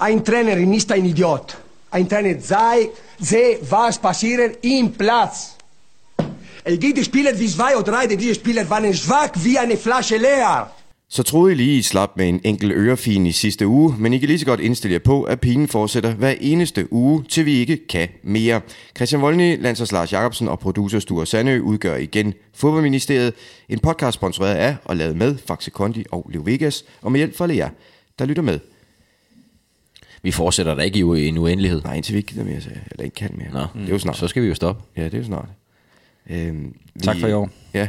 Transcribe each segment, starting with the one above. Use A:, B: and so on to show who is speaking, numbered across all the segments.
A: Ein Trainer ist ein Idiot. Ein Trainer sei, sehe, was passiert im Platz. Es gibt Spieler wie zwei oder drei, diese Spieler waren schwach wie eine Flasche leer.
B: Så troede I lige, I slap med en enkelt ørefin i sidste uge, men I kan lige så godt indstille jer på, at pinen fortsætter hver eneste uge, til vi ikke kan mere. Christian Voldny, Lansers Lars Jacobsen og producer Sture Sandø udgør igen Fodboldministeriet, en podcast sponsoreret af og lavet med Faxe Kondi og Leo Vegas, og med hjælp fra alle jer, der lytter med.
C: Vi fortsætter da ikke i u- en uendelighed.
B: Nej, indtil vi ikke gider mere, så jeg, eller ikke kan mere.
C: Nå,
B: Mm. Det er jo snart.
C: Så skal vi jo stoppe.
B: Ja, det er jo snart. Øhm, vi,
D: Tak for i år.
B: Ja.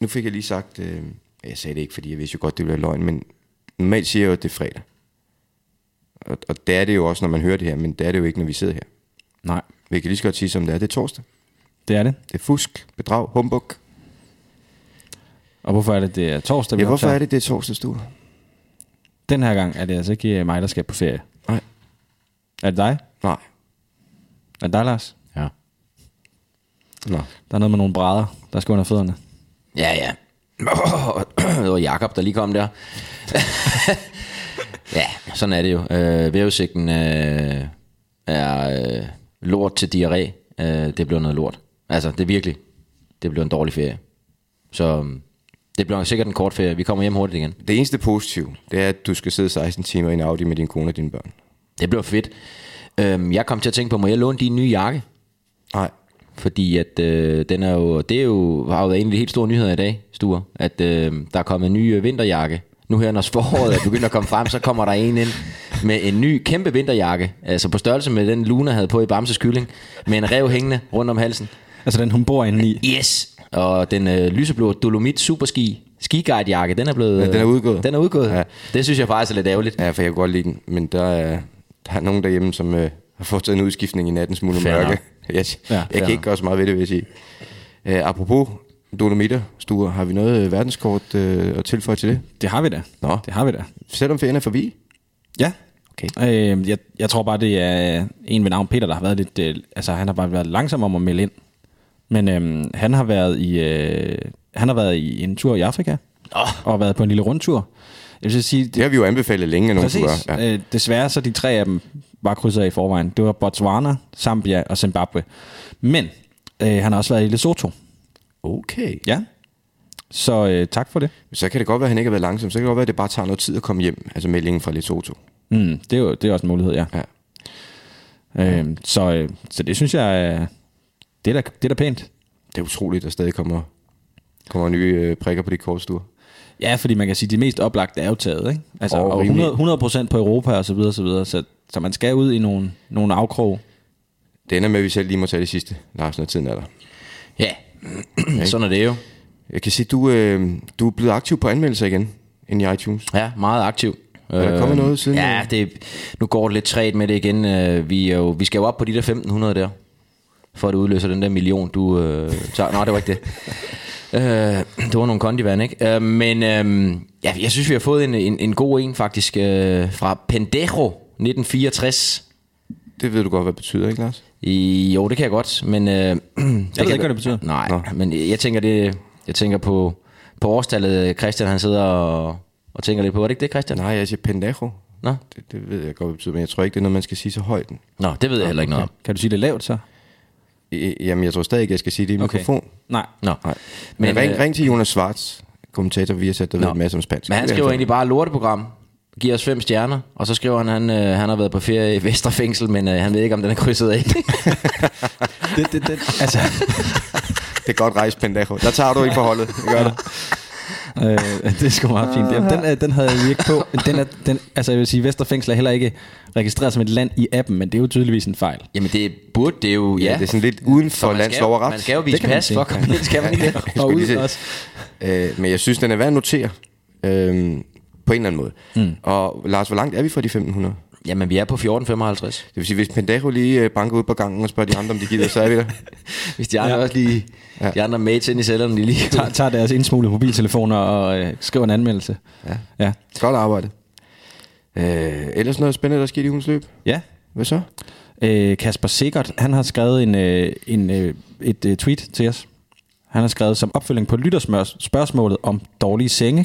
B: Nu fik jeg lige sagt, øh, jeg sagde det ikke, fordi jeg vidste jo godt, det ville være løgn, men normalt siger jeg jo, at det er fredag. Og, og det er det jo også, når man hører det her, men det er det jo ikke, når vi sidder her.
D: Nej,
B: Vi kan lige så godt sige, som det er. Det er torsdag.
D: det er det.
B: Det er fusk, bedrag, humbug.
D: Og hvorfor er det, det er torsdag, vi
B: Ja, hvorfor
D: optager?
B: er det, det er torsdag, du?
D: Den her gang er det altså ikke øh, mig, der skal på ferie.
B: Nej.
D: Er det dig?
B: Nej.
D: Er det dig, Lars?
C: Ja.
B: Nå.
D: Der er noget med nogle brædder, der skal under fødderne.
C: Ja, ja. det var Jakob, der lige kom der. ja, sådan er det jo. Øh, vævesigten øh, er øh, lort til diarré. Øh, det blev noget lort. Altså, det er virkelig. Det blev en dårlig ferie. Så mm, det bliver sikkert en kort ferie. Vi kommer hjem hurtigt igen.
B: Det eneste positive, det er, at du skal sidde 16 timer i en Audi med din kone og dine børn.
C: Det bliver fedt. Øhm, jeg kom til at tænke på, må jeg låne din nye jakke?
B: Nej.
C: Fordi at øh, den er jo, det er jo, har jo været en af de helt store nyheder i dag, Sture, at øh, der er kommet en ny øh, vinterjakke. Nu her, når foråret er begyndt at komme frem, så kommer der en ind med en ny kæmpe vinterjakke, altså på størrelse med den Luna havde på i Bamses kylling, med en rev hængende rundt om halsen.
D: Altså den, hun bor inde i.
C: Yes! Og den øh, lyseblå Dolomit Superski skiguide-jakke, den er blevet...
B: Ja, den er udgået.
C: Den er udgået.
B: Ja.
C: Ja. Det synes jeg faktisk er lidt ærgerligt.
B: Ja, for jeg kan godt lide den, men der er, der er nogen derhjemme, som øh, har foretaget en udskiftning i nattens mulde
C: Fair
B: mørke.
C: nok.
B: Jeg, ja, jeg
C: fair
B: kan ikke gøre så meget ved det, vil jeg sige. Øh, apropos dolomitter, Sture, har vi noget øh, verdenskort øh, at tilføje til det?
D: Det har vi da.
B: Nå.
D: Det har vi da.
B: Selvom ferien er forbi?
D: Ja.
B: Okay.
D: Øh, jeg, jeg tror bare, det er en ved navn Peter, der har været lidt... Øh, altså, han har bare været langsom om at melde ind. Men øh, han har været i... Øh, han har været i en tur i Afrika. Oh. Og været på en lille rundtur. Jeg vil så sige,
B: Det har vi jo anbefalet længe, at nogen skulle
D: Præcis.
B: gøre. Ja.
D: Ja. Øh, desværre så de tre af dem var krydset af i forvejen. Det var Botswana, Zambia og Zimbabwe. Men øh, han har også været i Lesotho.
B: Okay.
D: Ja. Så øh, tak for det.
B: Så kan det godt være, at han ikke har været langsom. Så kan det godt være, at det bare tager noget tid at komme hjem. Altså meldingen fra Lesotho.
D: Mm, det, er jo, det er også en mulighed, ja.
B: Ja.
D: Øh, så, øh, så det synes jeg, øh, det er da, det er da pænt.
B: Det er utroligt, at der stadig kommer, kommer nye øh, prikker på de kortstuer.
D: Ja, fordi man kan sige, at de mest oplagte er jo taget, ikke? Altså,
B: Og
D: og, og
B: rimelig-
D: 100, 100% på Europa og så videre, så videre. Så, så man skal ud i nogle, nogle afkrog.
B: Det ender med, at vi selv lige må tage det sidste, Lars, når tiden er der.
C: Ja, sådan er det jo.
B: Jeg kan sige, du, øh, du er blevet aktiv på anmeldelser igen, ind i iTunes.
C: Ja, meget aktiv. Er
B: der kommet noget siden?
C: Ja, det, nu går det lidt træt med det igen. Øh, Vi, er jo, vi skal jo op på de der 1500 der, for at udløse den der million, du øh, tager. Nej, det var ikke det. Øh, det var nogle kondivand, ikke? Øh, men øh, ja, jeg synes, vi har fået en, en, en god en faktisk øh, fra Pendejo 1964.
B: Det ved du godt, hvad det betyder, ikke Lars?
C: I, jo, det kan jeg godt, men... Øh, jeg
D: ikke, hvad det betyder.
C: Nej,
B: Nå.
C: Nå. men jeg tænker, det, jeg tænker på, på årstallet, Christian han sidder og, og tænker lidt på. Var det ikke det, Christian?
B: Nej, jeg siger pendejo.
C: Nå,
B: Det, det ved jeg godt, hvad det betyder, men jeg tror ikke, det er noget, man skal sige så højt.
C: Nå, det ved jeg heller ikke noget om.
D: Kan du sige det lavt, så?
B: I- Jamen, jeg tror stadig ikke, jeg skal sige det i okay. mikrofon.
D: Nej.
C: Nå.
B: Nej. Men, men ring,
C: øh,
B: ring til Jonas Schwartz, kommentator, vi har sat der ved en masse om spansk.
C: Men
B: Det er
C: han
B: altså-
C: skriver
B: fint.
C: egentlig bare lorteprogram. Giver os fem stjerner, og så skriver han, han, øh, han har været på ferie i Vestre Fængsel, men øh, han ved ikke, om den er krydset af.
D: Det, det, det, altså,
B: Det er godt rejse, pendejo. Der tager du ikke forholdet. Det gør det.
D: Øh, det er sgu meget fint. Jamen, den, øh, den havde jeg ikke på. Den er, den, altså jeg vil sige, Vesterfængsel er heller ikke registreret som et land i appen, men det er jo tydeligvis en fejl.
C: Jamen det burde det jo, ja.
B: Ja, det er sådan lidt uden
C: Så
B: for
C: man skal,
B: landslov
C: jo-
B: og ret.
C: man skal jo
D: Det
C: vise
D: kan man
C: pas
D: sige.
C: for at komme ind, skal man ikke det?
B: Jeg
D: Og
B: skulle lige
D: ud
B: se.
D: også.
B: Øh, men jeg synes, den er værd at notere. Øhm, på en eller anden måde.
C: Hmm.
B: Mm. Og Lars, hvor langt er vi fra de 1500?
C: Jamen vi er på 14.55.
B: Det vil sige, hvis Pendejo lige øh, banker ud på gangen og spørger de andre, om de gider, så er vi der.
C: Hvis de andre ja. også lige, de andre mates ind i cellerne, de lige
D: Tager, tager deres indsmuglede mobiltelefoner og øh, skriver en anmeldelse. Ja. Ja.
B: Godt arbejde. Øh, ellers noget spændende, der skete i ugens løb.
D: ja.
B: Hvad så?
D: Øh, Kasper Sikkert, han har skrevet en, øh, en, øh, et øh, tweet til os. Han har skrevet som opfølging på lytterspørgsmålet om dårlige senge.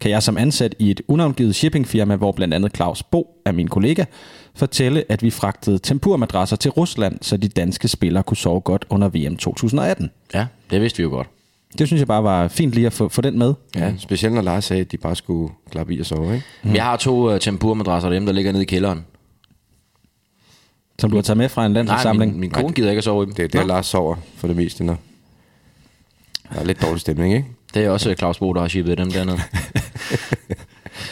D: kan jeg som ansat i et unavngivet shippingfirma, hvor blandt andet Claus Bo er min kollega, fortælle, at vi fragtede tempurmadrasser til Rusland, så de danske spillere kunne sove godt under VM 2018.
C: Ja, det vidste vi jo godt.
D: Det synes jeg bare var fint lige at få, få den med.
B: Ja, specielt når Lars sagde, at de bare skulle klappe i og sove, ikke?
C: Mm. Jeg har to uh, tempurmadrasser derhjemme, der ligger nede i kælderen.
D: Som du har taget med fra en
C: Nej,
D: landsholdssamling.
C: min, min kone gider ikke at sove i dem.
B: Det er
C: Det,
B: der, Lars sover for det meste, når der er lidt dårlig stemning, ikke?
C: det er også øh, Claus Bo, der har shippet dem dernede.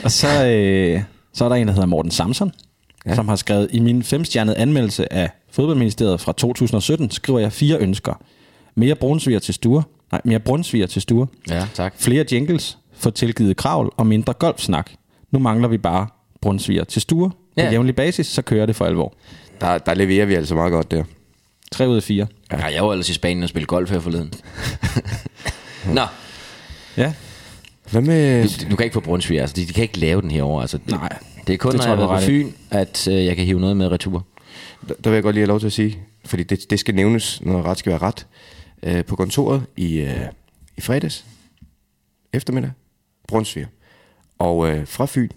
D: Og så, øh, så er der en, der hedder Morten Samson, ja. som har skrevet, i min femstjernede anmeldelse af Fodboldministeriet fra 2017, skriver jeg fire ønsker. Mere brunsviger til stuer. Nej, mere brunsviger til stuer.
C: ja, tak.
D: Flere jingles, få tilgivet kravl og mindre golfsnak. Nu mangler vi bare brunsviger til stuer. På
C: Ja.
D: ja. jævnlig basis, så kører det for alvor.
B: Der, der leverer vi altså meget godt der.
D: 3 ud af 4.
C: Ja, jeg var ellers i Spanien og spille golf her forleden. Nå,
D: Ja,
B: Hvad med...
C: du, du kan ikke få Brunsvig, altså de, de kan ikke lave den herovre. Altså, det,
D: Nej,
C: Det er kun,
D: det
C: når
D: tror
C: jeg har
D: jeg,
C: været på
D: du
C: Fyn, at øh, jeg kan hive noget med retur.
B: Der, der vil jeg godt lige have lov til at sige, fordi det, det skal nævnes, når ret skal være ret, øh, på kontoret i, øh, i fredags eftermiddag, Brunsviger. Og øh, fra Fyn,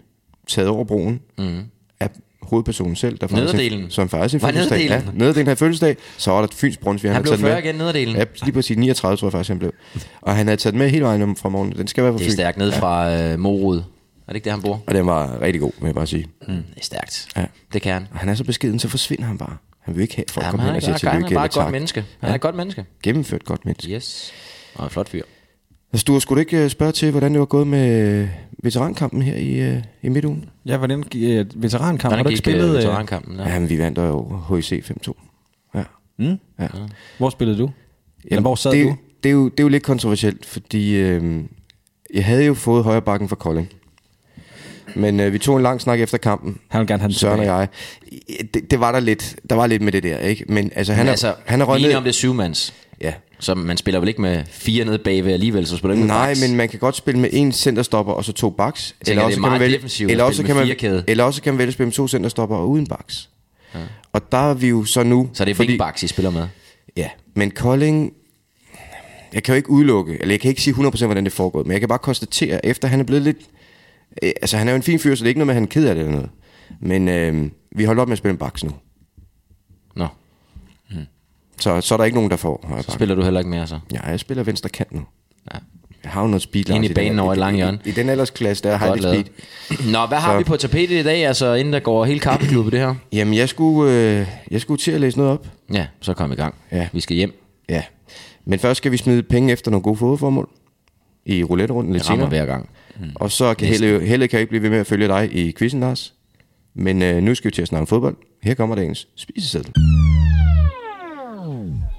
B: taget over broen, mm. af hovedpersonen selv, der faktisk-
C: Mhm. Nederdelen.
B: som faktisk er
C: Var
B: fødselsdag. Ja,
C: nederdelen?
B: nederdelen havde fødselsdag, så var der et Fyns Brunsviger.
C: Han
B: havde
C: blev
B: taget den
C: 40
B: med.
C: igen, nederdelen.
B: Ja, lige præcis 39, tror jeg faktisk, han blev. Og han havde taget den med hele vejen om fra morgenen. Den skal være fra
C: Det er
B: Fyn.
C: stærkt ned fra øh, Morud. Er det ikke det, han bor?
B: Og den var rigtig god, vil jeg bare sige.
C: Mm. Det er stærkt.
B: Ja.
C: Det kan han.
B: Og han er så beskeden, så forsvinder han bare. Han vil ikke have, at folk
C: Ja,
B: ja,
C: men
B: kommer
C: han,
B: hen
C: er,
B: og siger
C: han, er, han
B: tillykke
C: er bare
B: eller
C: et godt
B: tak.
C: menneske. Han er et godt menneske.
B: Gennemført godt menneske.
C: Yes. Og en flot fyr.
B: Ja. Sture, skulle du ikke øh, spørge til, hvordan det var gået med øh, veterankampen her i, øh, i midtugen?
D: ja hvordan gik øh, veterankamp? Har
C: Hvordan
D: du ikke
C: gik øh,
D: spillet? Øh,
C: veterankampen?
B: Ja.
C: Ja.
B: Jamen, vi vandt jo HIC 5-2. Ja.
D: Mm?
B: Ja.
D: Hvor spillede du? Eller hvor sad
B: det,
D: du?
B: Det er, jo, det er jo lidt kontroversielt, fordi øh, jeg havde jo fået højre bakken fra Kolding. Men øh, vi tog en lang snak efter kampen,
D: Han vil gerne have den
B: Søren og
D: tilbage.
B: jeg. Det, det var der lidt, der var lidt med det der, ikke? Men altså, han
C: Han
B: er,
C: er, altså,
B: han er
C: vi
B: røget
C: enige
B: ned.
C: om det er syvmands.
B: Ja,
C: Så man spiller vel ikke med fire nede bagved alligevel, så spiller du ikke med
B: Nej,
C: backs.
B: men man kan godt spille med en centerstopper og så to backs.
C: det er meget defensivt at
B: eller, også
C: spille
B: kan
C: med
B: man,
C: firekæde.
B: eller også kan man vælge at spille med to centerstopper og uden backs. Ja. Og der er vi jo så nu...
C: Så det er fordi... vingbaks, I spiller med.
B: Ja, men Kolding... Jeg kan jo ikke udelukke, eller jeg kan ikke sige 100% hvordan det foregår, men jeg kan bare konstatere, at efter han er blevet lidt... Øh, altså, han er jo en fin fyr, så det er ikke noget med, at han er ked af det eller noget. Men øh, vi holder op med at spille med backs nu.
C: Nå,
B: Så, så er der ikke nogen, der får højre
C: så
B: back.
C: spiller du heller ikke mere så.
B: Ja, jeg spiller venstre kant nu.
C: Ja.
B: Jeg har jo noget speed. Lars,
C: i
B: den
C: banen
B: her-
C: over et langt hjørne.
B: I, I, den aldersklasse, der har jeg
C: Godt
B: lidt speed.
C: lavet. Nå, hvad har
B: Så-
C: så... vi på tapetet i dag, altså inden der går hele kaffeklubben det her?
B: Jamen, jeg skulle, øh, jeg skulle til at læse noget op.
C: Ja, så kom i gang.
B: Ja.
C: Vi skal hjem.
B: Ja. Men først skal vi smide penge efter nogle gode fodformål i roulette-runden lidt
C: Det rammer
B: senere.
C: hver gang.
B: Og så kan Helle, Helle kan ikke blive ved med at følge dig i quizzen, Lars. Men øh, nu skal vi til at snakke om fodbold. Her kommer dagens spiseseddel.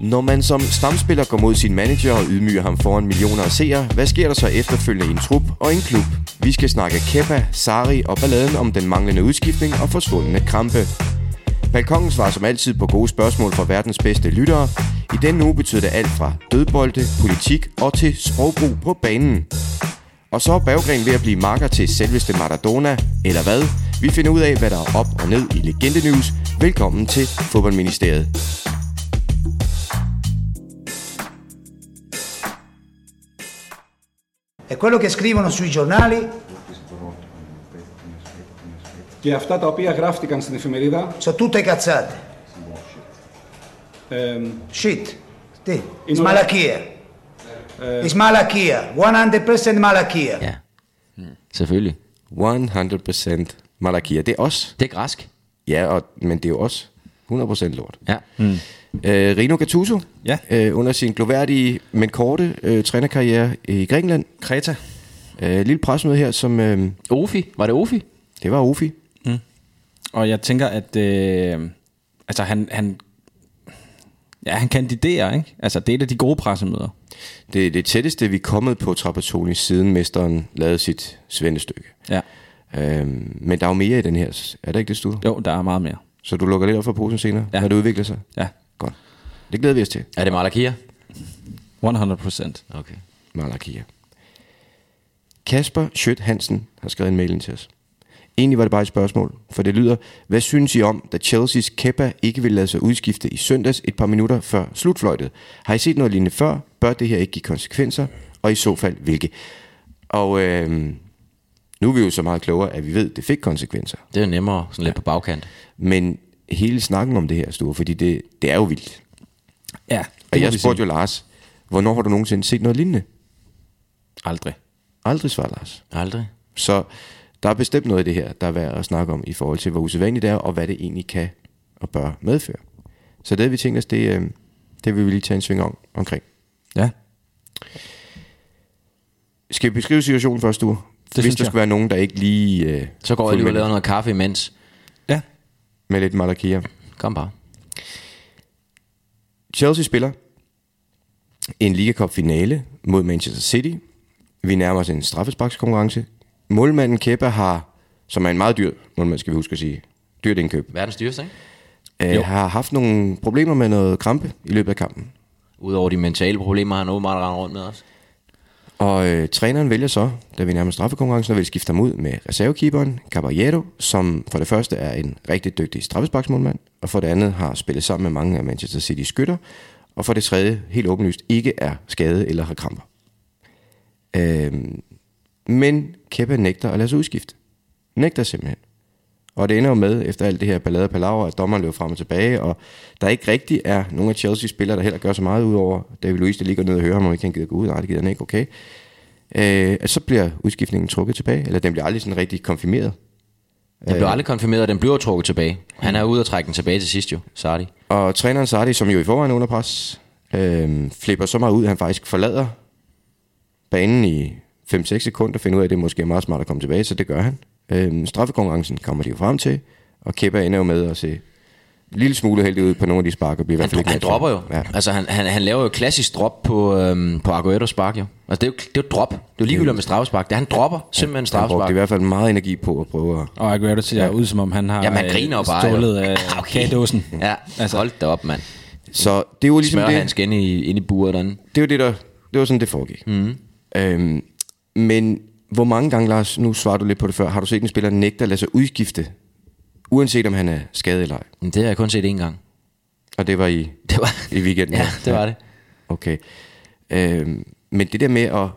B: Når man som stamspiller går mod sin manager og ydmyger ham foran millioner af seere, hvad sker der så efterfølgende i en trup og en klub? Vi skal snakke Kepa, Sari og balladen om den manglende udskiftning og forsvundne krampe. Balkongen svarer som altid på gode spørgsmål fra verdens bedste lyttere. I denne uge betyder det alt fra dødbolde, politik og til sprogbrug på banen. Og så er Berggren ved at blive marker til selveste Maradona, eller hvad? Vi finder ud af, hvad der er op og ned i Legende News. Velkommen til Fodboldministeriet.
E: È quello che scrivono sui giornali,
F: Και αυτά τα οποία γράφτηκαν στην εφημερίδα
E: sono tutte cazzate.
F: ε,
E: Shit. Sì.
F: In-
E: Smalachia. It's malachia. 100% malachia.
C: Ja, selvfølgelig.
B: 100% Malakia. Det er os.
C: Det er græsk.
B: Ja, og, men det er jo os. 100% lort.
C: Ja.
B: Øh, Rino Gattuso,
D: Ja.
B: øh, under sin gloværdige, men korte øh, trænerkarriere i Grækenland.
D: Kreta.
B: Øh, lille presmøde her, som øh,
C: Ofi, var det Ofi?
B: det var Ofi.
D: Og jeg tænker, at øh, altså han, han, ja, han kandiderer, ikke? Altså, det er et af de gode pressemøder.
B: Det er det tætteste, vi er kommet på Trapattoni, siden mesteren lavede sit svendestykke.
D: Ja.
B: Øhm, men der er jo mere i den her, er der ikke det, Sture?
D: Jo, der er meget mere.
B: Så du lukker lidt op for posen senere, ja.
D: Ja.
B: når det udvikler sig?
D: Ja,
B: Godt. Det glæder vi os til,
C: Er det Malakia?
D: 100 procent.
C: Okay.
B: Malakia. Kasper Schødt Hansen har skrevet en mail ind til os. Egentlig var det bare et spørgsmål, for det lyder, hvad synes I om, da Chelsea's Kepa ikke ville lade sig udskifte i søndags et par minutter før slutfløjtet? Har I set noget lignende før? Bør det her ikke give konsekvenser? Og i så fald, hvilke? Og øh, Nu er vi jo så meget klogere, at vi ved, at det fik konsekvenser.
C: Det er jo nemmere, sådan lidt på bagkant.
B: Men hele snakken om det her, Sture, fordi det, det er jo vildt.
D: Ja,
B: Og
D: det må
B: jeg
D: vi
B: spurgte
D: sige.
B: jo Lars, hvornår har du nogensinde set noget lignende?
D: Aldrig.
B: Aldrig, svarer Lars.
C: Aldrig.
B: Så der er bestemt noget i det her, der er værd at snakke om i forhold til, hvor usædvanligt det er, og hvad det egentlig kan og bør medføre. Så det havde vi tænkt os, det, øh, det vil vi lige tage en sving om, omkring.
D: Ja,
B: Skal vi beskrive situationen først, du? Hvis
D: synes
B: der
D: jeg.
B: skulle være nogen, der ikke lige... Øh,
C: Så går jeg lige ud og
B: fulgte
C: laver
B: med,
C: noget kaffe imens.
D: ja.
B: med lidt malakia.
C: Kom bare.
B: Chelsea spiller en Liga Cup finale mod Manchester City. Vi nærmer os en straffesparkskonkurrence. Målmanden Kepa har, som er en meget dyr målmand, skal vi huske at sige, dyrt indkøb,
C: Verdens dyreste, ikke?
B: øh, har haft nogle problemer med noget krampe i løbet af kampen.
C: Udover de mentale problemer, han åbenbart render rundt med os.
B: Og øh, træneren vælger så, da vi nærmer os straffekonkurrencen, at vil skifte ham ud med reservekeeperen Caballero, som for det første er en rigtig dygtig straffesparksmålmand, og for det andet har spillet sammen med mange af Manchester City's skytter, og for det tredje helt åbenlyst ikke er skadet eller har kramper. Øhm, men Kepa nægter at lade sig udskifte. Nægter simpelthen. Og det ender jo med, efter alt det her ballade og palaver, at dommeren løber frem og tilbage, og der ikke rigtig er nogen af Chelsea's spillere, der heller gør så meget ud over David Luiz, der lige går ned og hører ham, om ikke han gider gå ud. Nej, det gider han ikke, okay. Øh, at så bliver udskiftningen trukket tilbage, eller den bliver aldrig sådan rigtig konfirmeret.
C: Den blev aldrig konfirmeret, og den bliver trukket tilbage. Han er ude og trække den tilbage til sidst jo, Sardi.
B: Og træneren Sardi, som jo i forvejen er under pres, øh, flipper så meget ud, at han faktisk forlader banen i 5-6 sekunder, finder ud af, at det måske er meget smart at komme tilbage, så det gør han. Øh, straffekonkurrencen kommer de jo frem til, og Kepa ender jo med at se en lille smule heldig ud på nogle af de spark, og bliver i hvert fald
C: Han,
B: ikke matchet.
C: han dropper jo.
B: Ja.
C: Ja. Altså, han, han, han laver jo klassisk drop på, øhm, på Aguero spark jo. Altså, det er jo, det er jo drop. Det er jo ligegyldigt med straffespark. Det, er- han dropper simpelthen
B: Han brugte i
C: straffespark.
B: hvert fald meget energi på at prøve at...
D: Og Aguero ser ja. ud, som om han har
C: Jamen, han
D: øh,
C: griner jo bare.
D: stjålet øh,
C: jo.
D: af kagedåsen.
C: Ja, altså, hold da op, mand.
B: Så det var ligesom
C: Smører
B: det.
C: han skin i, ind i buret derinde.
B: det var det, der, det var sådan, det foregik. Mm. Øhm, men hvor mange gange, Lars, nu svarer du lidt på det før, har du set en spiller nægte at lade sig udskifte, uanset om han er skadet eller ej?
C: Men det har jeg kun set én gang.
B: Og det var i,
C: Det var,
B: i weekenden?
C: ja, det var det.
B: Okay. Øhm, men det der med at...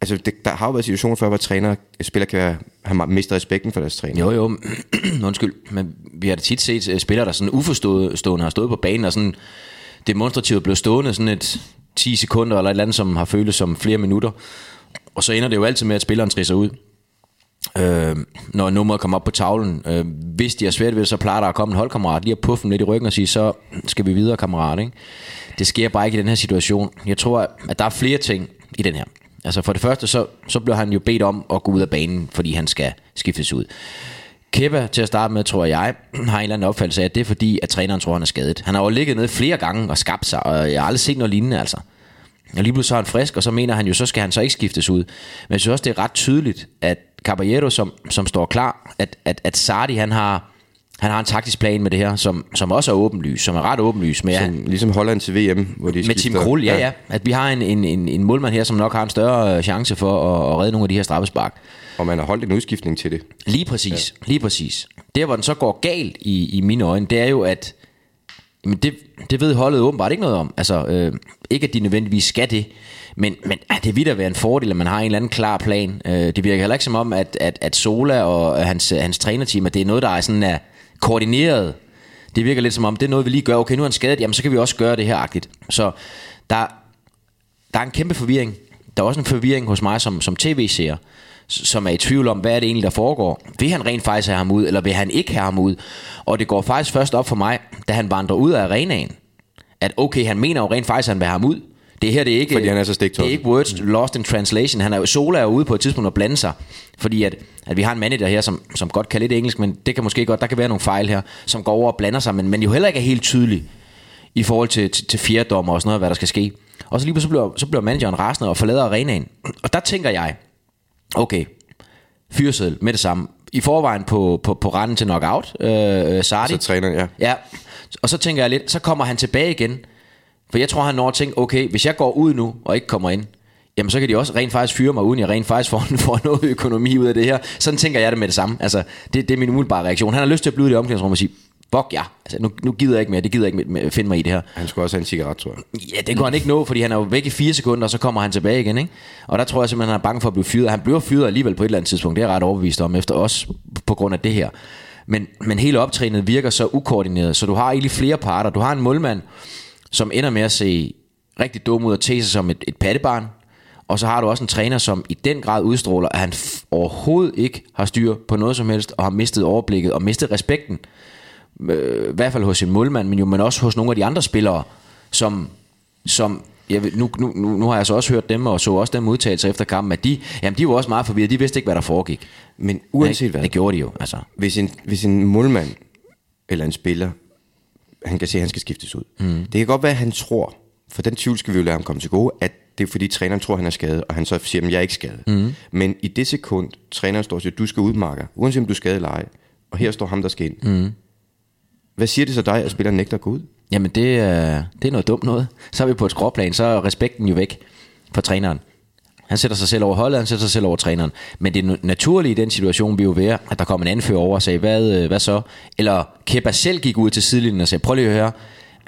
B: Altså, det, der har jo været situationer før, hvor træner, spillere kan være, har mistet respekten for deres træner.
C: Jo, jo, undskyld, men vi har da tit set øh, spillere, der sådan uforstående har stået på banen og sådan demonstrativt blev stående sådan et 10 sekunder eller et eller andet, som har føltes som flere minutter. Og så ender det jo altid med, at spilleren trisser ud. Øh, når nummeret kommer op på tavlen. Øh, hvis de har svært ved det, så plejer der at komme en holdkammerat lige at puffe dem lidt i ryggen og sige, så skal vi videre, kammerat. Ikke? Det sker bare ikke i den her situation. Jeg tror, at der er flere ting i den her. Altså for det første, så, så blev han jo bedt om at gå ud af banen, fordi han skal skiftes ud. Kepa til at starte med, tror jeg, har en eller anden opfattelse af, at det er fordi, at træneren tror, han er skadet. Han har jo ligget nede flere gange og skabt sig, og jeg har aldrig set noget lignende, altså. Og lige pludselig så er han frisk, og så mener han jo, så skal han så ikke skiftes ud. Men jeg synes også, det er ret tydeligt, at Caballero, som, som står klar, at, at, at Sardi, han har, han har en taktisk plan med det her, som, som også er åbenlys, som er ret åbenlys. Med,
B: Som, ligesom Holland til VM, hvor de
C: med
B: skifter.
C: Tim Krul, ja, ja. At vi har en, en, en, en målmand her, som nok har en større øh, chance for at, at redde nogle af de her straffespark.
B: Og man har holdt en udskiftning til det.
C: Lige præcis, ja. lige præcis. Der, hvor den så går galt i, i mine øjne, det er jo, at jamen det, det ved holdet åbenbart ikke noget om. Altså, øh, ikke at de nødvendigvis skal det, men, men ah, det vil da være en fordel, at man har en eller anden klar plan. Øh, det virker heller ikke som om, at, at, at Sola og øh, hans, hans trænerteam, at det er noget, der er sådan er koordineret. Det virker lidt som om, det er noget, vi lige gør. Okay, nu er han skadet, jamen så kan vi også gøre det her agtigt. Så der, der er en kæmpe forvirring. Der er også en forvirring hos mig som, som tv-seer, s- som er i tvivl om, hvad er det egentlig, der foregår. Vil han rent faktisk have ham ud, eller vil han ikke have ham ud? Og det går faktisk først op for mig, da han vandrer ud af arenaen, at okay, han mener jo rent faktisk, at han vil have ham ud. Det her, det er ikke,
B: Fordi han er så
C: det
B: stiktosset.
C: er ikke words lost in translation. Han er jo, Sola er jo ude på et tidspunkt og blande sig, fordi at, at vi har en manager her, som, som godt kan lidt engelsk, men det kan måske godt, der kan være nogle fejl her, som går over og blander sig, men, men jo heller ikke er helt tydelig i forhold til, til, til fjerdommer og sådan noget, hvad der skal ske. Og så lige pludselig så bliver, så bliver manageren rasende og forlader arenaen. Og der tænker jeg, okay, fyreseddel med det samme. I forvejen på, på, på randen til knockout, øh, øh, Sardi.
B: Så træneren, ja.
C: Ja, og så tænker jeg lidt, så kommer han tilbage igen. For jeg tror, han når at tænke, okay, hvis jeg går ud nu og ikke kommer ind, jamen så kan de også rent faktisk fyre mig, uden jeg rent faktisk får, får noget økonomi ud af det her. Sådan tænker jeg det med det samme. Altså, det, det er min umiddelbare reaktion. Han har lyst til at blive i det omklædningsrum og sige, fuck ja, altså, nu, nu gider jeg ikke mere, det gider jeg ikke mere, finde mig i det her.
B: Han skulle også have en cigaret, tror jeg.
C: Ja, det kunne han ikke nå, fordi han er jo væk i fire sekunder, og så kommer han tilbage igen, ikke? Og der tror jeg simpelthen, han er bange for at blive fyret. Han bliver fyret alligevel på et eller andet tidspunkt, det er jeg ret overbevist om, efter os på grund af det her. Men, men hele optrænet virker så ukoordineret, så du har egentlig flere parter. Du har en målmand, som ender med at se rigtig dum ud og tæse sig som et, et pattebarn. Og så har du også en træner, som i den grad udstråler, at han f- overhovedet ikke har styr på noget som helst, og har mistet overblikket og mistet respekten øh, i hvert fald hos sin målmand, men jo men også hos nogle af de andre spillere, som, som jeg ved, nu, nu, nu, nu har jeg så også hørt dem og så også dem udtale sig efter kampen, at de, jamen de var også meget forvirrede, de vidste ikke, hvad der foregik.
B: Men uanset hvad,
C: Det gjorde de jo, altså.
B: hvis en, hvis en målmand eller en spiller, han kan se, at han skal skiftes ud. Mm. Det kan godt være, at han tror, for den tvivl skal vi jo lade ham komme til gode, at det er fordi træneren tror, han er skadet, og han så siger, at jeg er ikke skadet. Mm. Men i det sekund, træneren står og siger, du skal ud, Marker, uanset om du er skadet eller ej, og her står ham, der skal ind. Mm. Hvad siger det så dig, at spilleren nægter at gå ud?
C: Jamen det, øh, det er noget dumt noget. Så er vi på et skråplan, så er respekten jo væk for træneren. Han sætter sig selv over holdet, han sætter sig selv over træneren. Men det nu- naturlige i den situation vil jo være, at der kom en anfører over og sagde, hvad, øh, hvad så? Eller Kepa selv gik ud til sidelinjen og sagde, prøv lige at høre,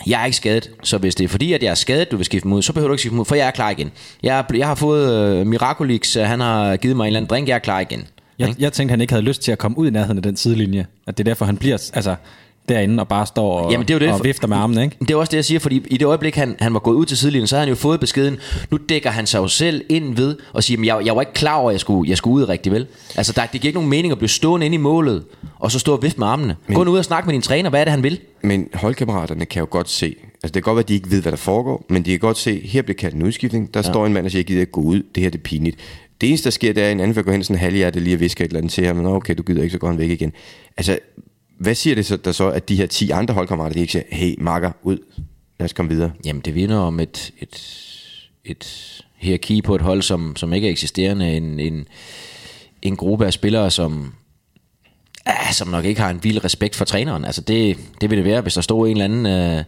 C: jeg er ikke skadet, så hvis det er fordi, at jeg er skadet, du vil skifte mig ud, så behøver du ikke skifte mig ud, for jeg er klar igen. Jeg, er ble- jeg har fået øh, Miraculix, øh, han har givet mig en eller anden drink, jeg er klar igen.
D: Jeg, jeg tænkte, han ikke havde lyst til at komme ud i nærheden af den sidelinje. At det er derfor, han bliver altså, derinde og bare står og,
C: Jamen, det er jo det.
D: og vifter med armene. Ikke?
C: Det er også det, jeg siger, fordi i det øjeblik, han, han var gået ud til sidelinjen, så havde han jo fået beskeden, nu dækker han sig jo selv ind ved og siger, "Men jeg, jeg var ikke klar over, at jeg skulle, jeg skulle ud rigtig vel. Altså, der, det giver ikke nogen mening at blive stående inde i målet, og så stå og vifte med armene. Men, Gå nu ud og snak med din træner, hvad er det, han vil?
B: Men holdkammeraterne kan jo godt se, altså det kan godt være, at de ikke ved, hvad der foregår, men de kan godt se, her bliver kaldt en udskiftning, der ja. står en mand og siger, jeg gider ikke gå ud, det her det er pinligt. Det eneste, der sker, det er, at en anden vil gå hen sådan halvhjertet lige og viske et eller andet til ham, men okay, du gider ikke, så går han væk igen. Altså, hvad siger det så, der så, at de her 10 andre holdkammerater, de ikke siger, hey, makker, ud, lad os komme videre.
C: Jamen, det vidner om et, et, et hierarki på et hold, som, som ikke er eksisterende. En, en, en gruppe af spillere, som, ah, som nok ikke har en vild respekt for træneren. Altså, det, det ville det være, hvis der stod en eller anden... Øh,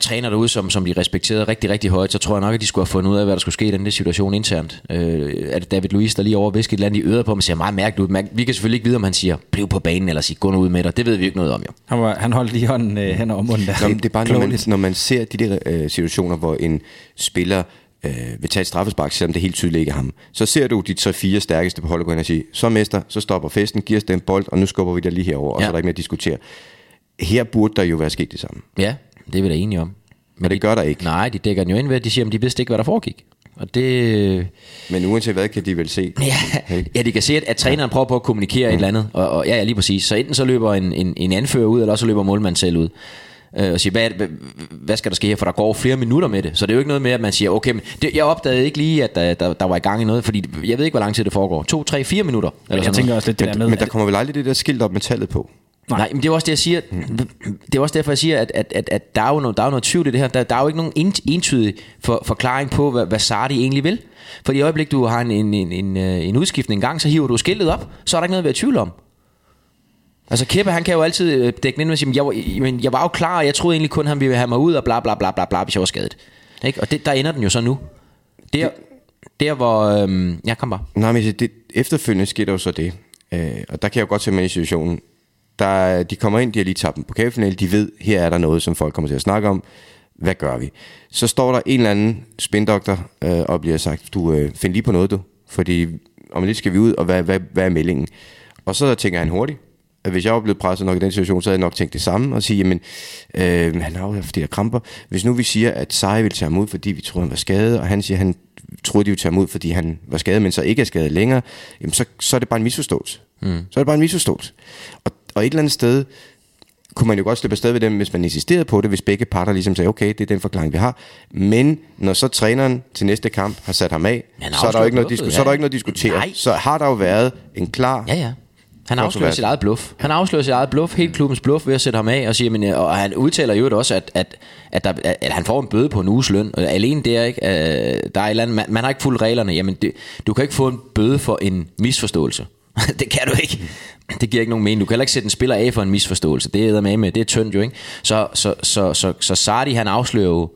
C: træner derude, som, som de respekterede rigtig, rigtig højt, så tror jeg nok, at de skulle have fundet ud af, hvad der skulle ske i den der situation internt. Øh, er det David Luiz, der lige over visker et eller andet i øret på ham, og siger meget mærkeligt ud. Man, vi kan selvfølgelig ikke vide, om han siger, bliv på banen, eller siger, gå nu ud med dig. Det ved vi ikke noget om, jo.
D: Han, var, han holdt lige hånden øh, hen over munden der.
B: Nå, men det er bare, når man,
D: Klogeligt.
B: når man ser de der øh, situationer, hvor en spiller øh, vil tage et straffespark, selvom det helt tydeligt ikke er ham, så ser du de 3-4 stærkeste på holdet gå hen og sige, så mester, så stopper festen, giver os den bold, og nu skubber vi dig lige herover, og
C: Ja.
B: så er der ikke mere at diskutere. Her burde der jo være sket det samme,
C: Ja, det er vi da enige om.
B: men det gør der ikke.
C: Nej, de dækker den jo ind ved, at de siger, at de vidste ikke, hvad der foregik. Og det...
B: Men uanset hvad, kan de vel se.
C: Ja,
B: Ikke?
C: ja de kan se, at, at træneren prøver på at kommunikere et eller andet. Og, og ja, ja, lige præcis. Så enten så løber en, en, en anfører ud, eller også så løber målmanden selv ud. Øh, og siger, hvad, er det- hvad, hvad skal der ske her? For der går flere minutter med det. Så det er jo ikke noget med, at man siger, okay, men det, jeg opdagede ikke lige, at der, der, der var i gang i noget, fordi jeg ved ikke, hvor lang tid det foregår. To, tre, fire minutter? Eller
D: Men jeg
C: sådan
D: tænker
C: noget.
D: også lidt det der med,
B: Men der
D: at-
B: kommer vel aldrig det der skilt op med tallet på.
C: Nej. Nej, men det er jo også det, jeg siger. Det er også derfor, jeg siger, at, at, at, at der, er jo noget, der er jo noget tvivl i det her. Der, der er jo ikke nogen en- entydig for, forklaring på, hvad, hvad Sardi egentlig vil. For i øjeblik, du har en, en, en, en, øh, en udskiftning en gang, så hiver du skiltet op, så er der ikke noget at være i tvivl om. Altså Kæppe, han kan jo altid øh, dække den ind og sige, "Men jeg, var- men jeg var jo klar, og jeg troede egentlig kun, han ville have mig ud, og bla bla bla bla bla, hvis jeg var skadet. Ikke? Og det, der ender den jo så nu. Der, der hvor... Øhm, ja, kom bare.
B: Nej, men det, efterfølgende sker der jo så det. Øh, og der kan jeg jo godt se mig i situationen. Der, de kommer ind, de har lige tabt en pokalfinale, de ved, her er der noget, som folk kommer til at snakke om. Hvad gør vi? Så står der en eller anden spindoktor øh, og bliver sagt, du øh, find lige på noget du, fordi om lidt skal vi ud, og hvad, hvad, hvad er meldingen? Og så tænker han hurtigt, at hvis jeg var blevet presset nok i den situation, så havde jeg nok tænkt det samme og sige, jamen, øh, han har jo haft de her kramper. Hvis nu vi siger, at Seje ville tage ham ud, fordi vi troede, han var skadet, og han siger, at han troede, de ville tage ham ud, fordi han var skadet, men så ikke er skadet længere, jamen så, så er det bare en misforståelse. Mm. Så er det bare en misforståelse. Og, og et eller andet sted kunne man jo godt slippe afsted ved dem, hvis man insisterede på det, hvis begge parter ligesom sagde, okay, det er den forklaring, vi har. Men når så træneren til næste kamp har sat ham af,
C: Han
B: så er, der jo ikke noget
C: afslører
B: disku-
C: bluffet,
B: så er der jo
C: ja.
B: ikke noget at diskutere.
C: Nej.
B: Så har der jo været en klar
C: Ja, ja. Han afslører
B: Kontrovers.
C: sit eget bluff. Han afslører sit eget bluff, helt klubbens bluff, ved at sætte ham af og sige, men, øh, og han udtaler jo også, at, at, at, der, at, at han får en bøde på en uges løn. Og Alene der, ikke? Øh, der er et eller andet, man, man, har ikke fulgt reglerne. Jamen, det, du kan ikke få en bøde for en misforståelse. det kan du ikke. Det giver ikke nogen mening. Du kan heller ikke sætte en spiller af for en misforståelse. Det er med med. Det er tyndt jo, ikke? Så, så, så, så, så Sardi, han afslører jo,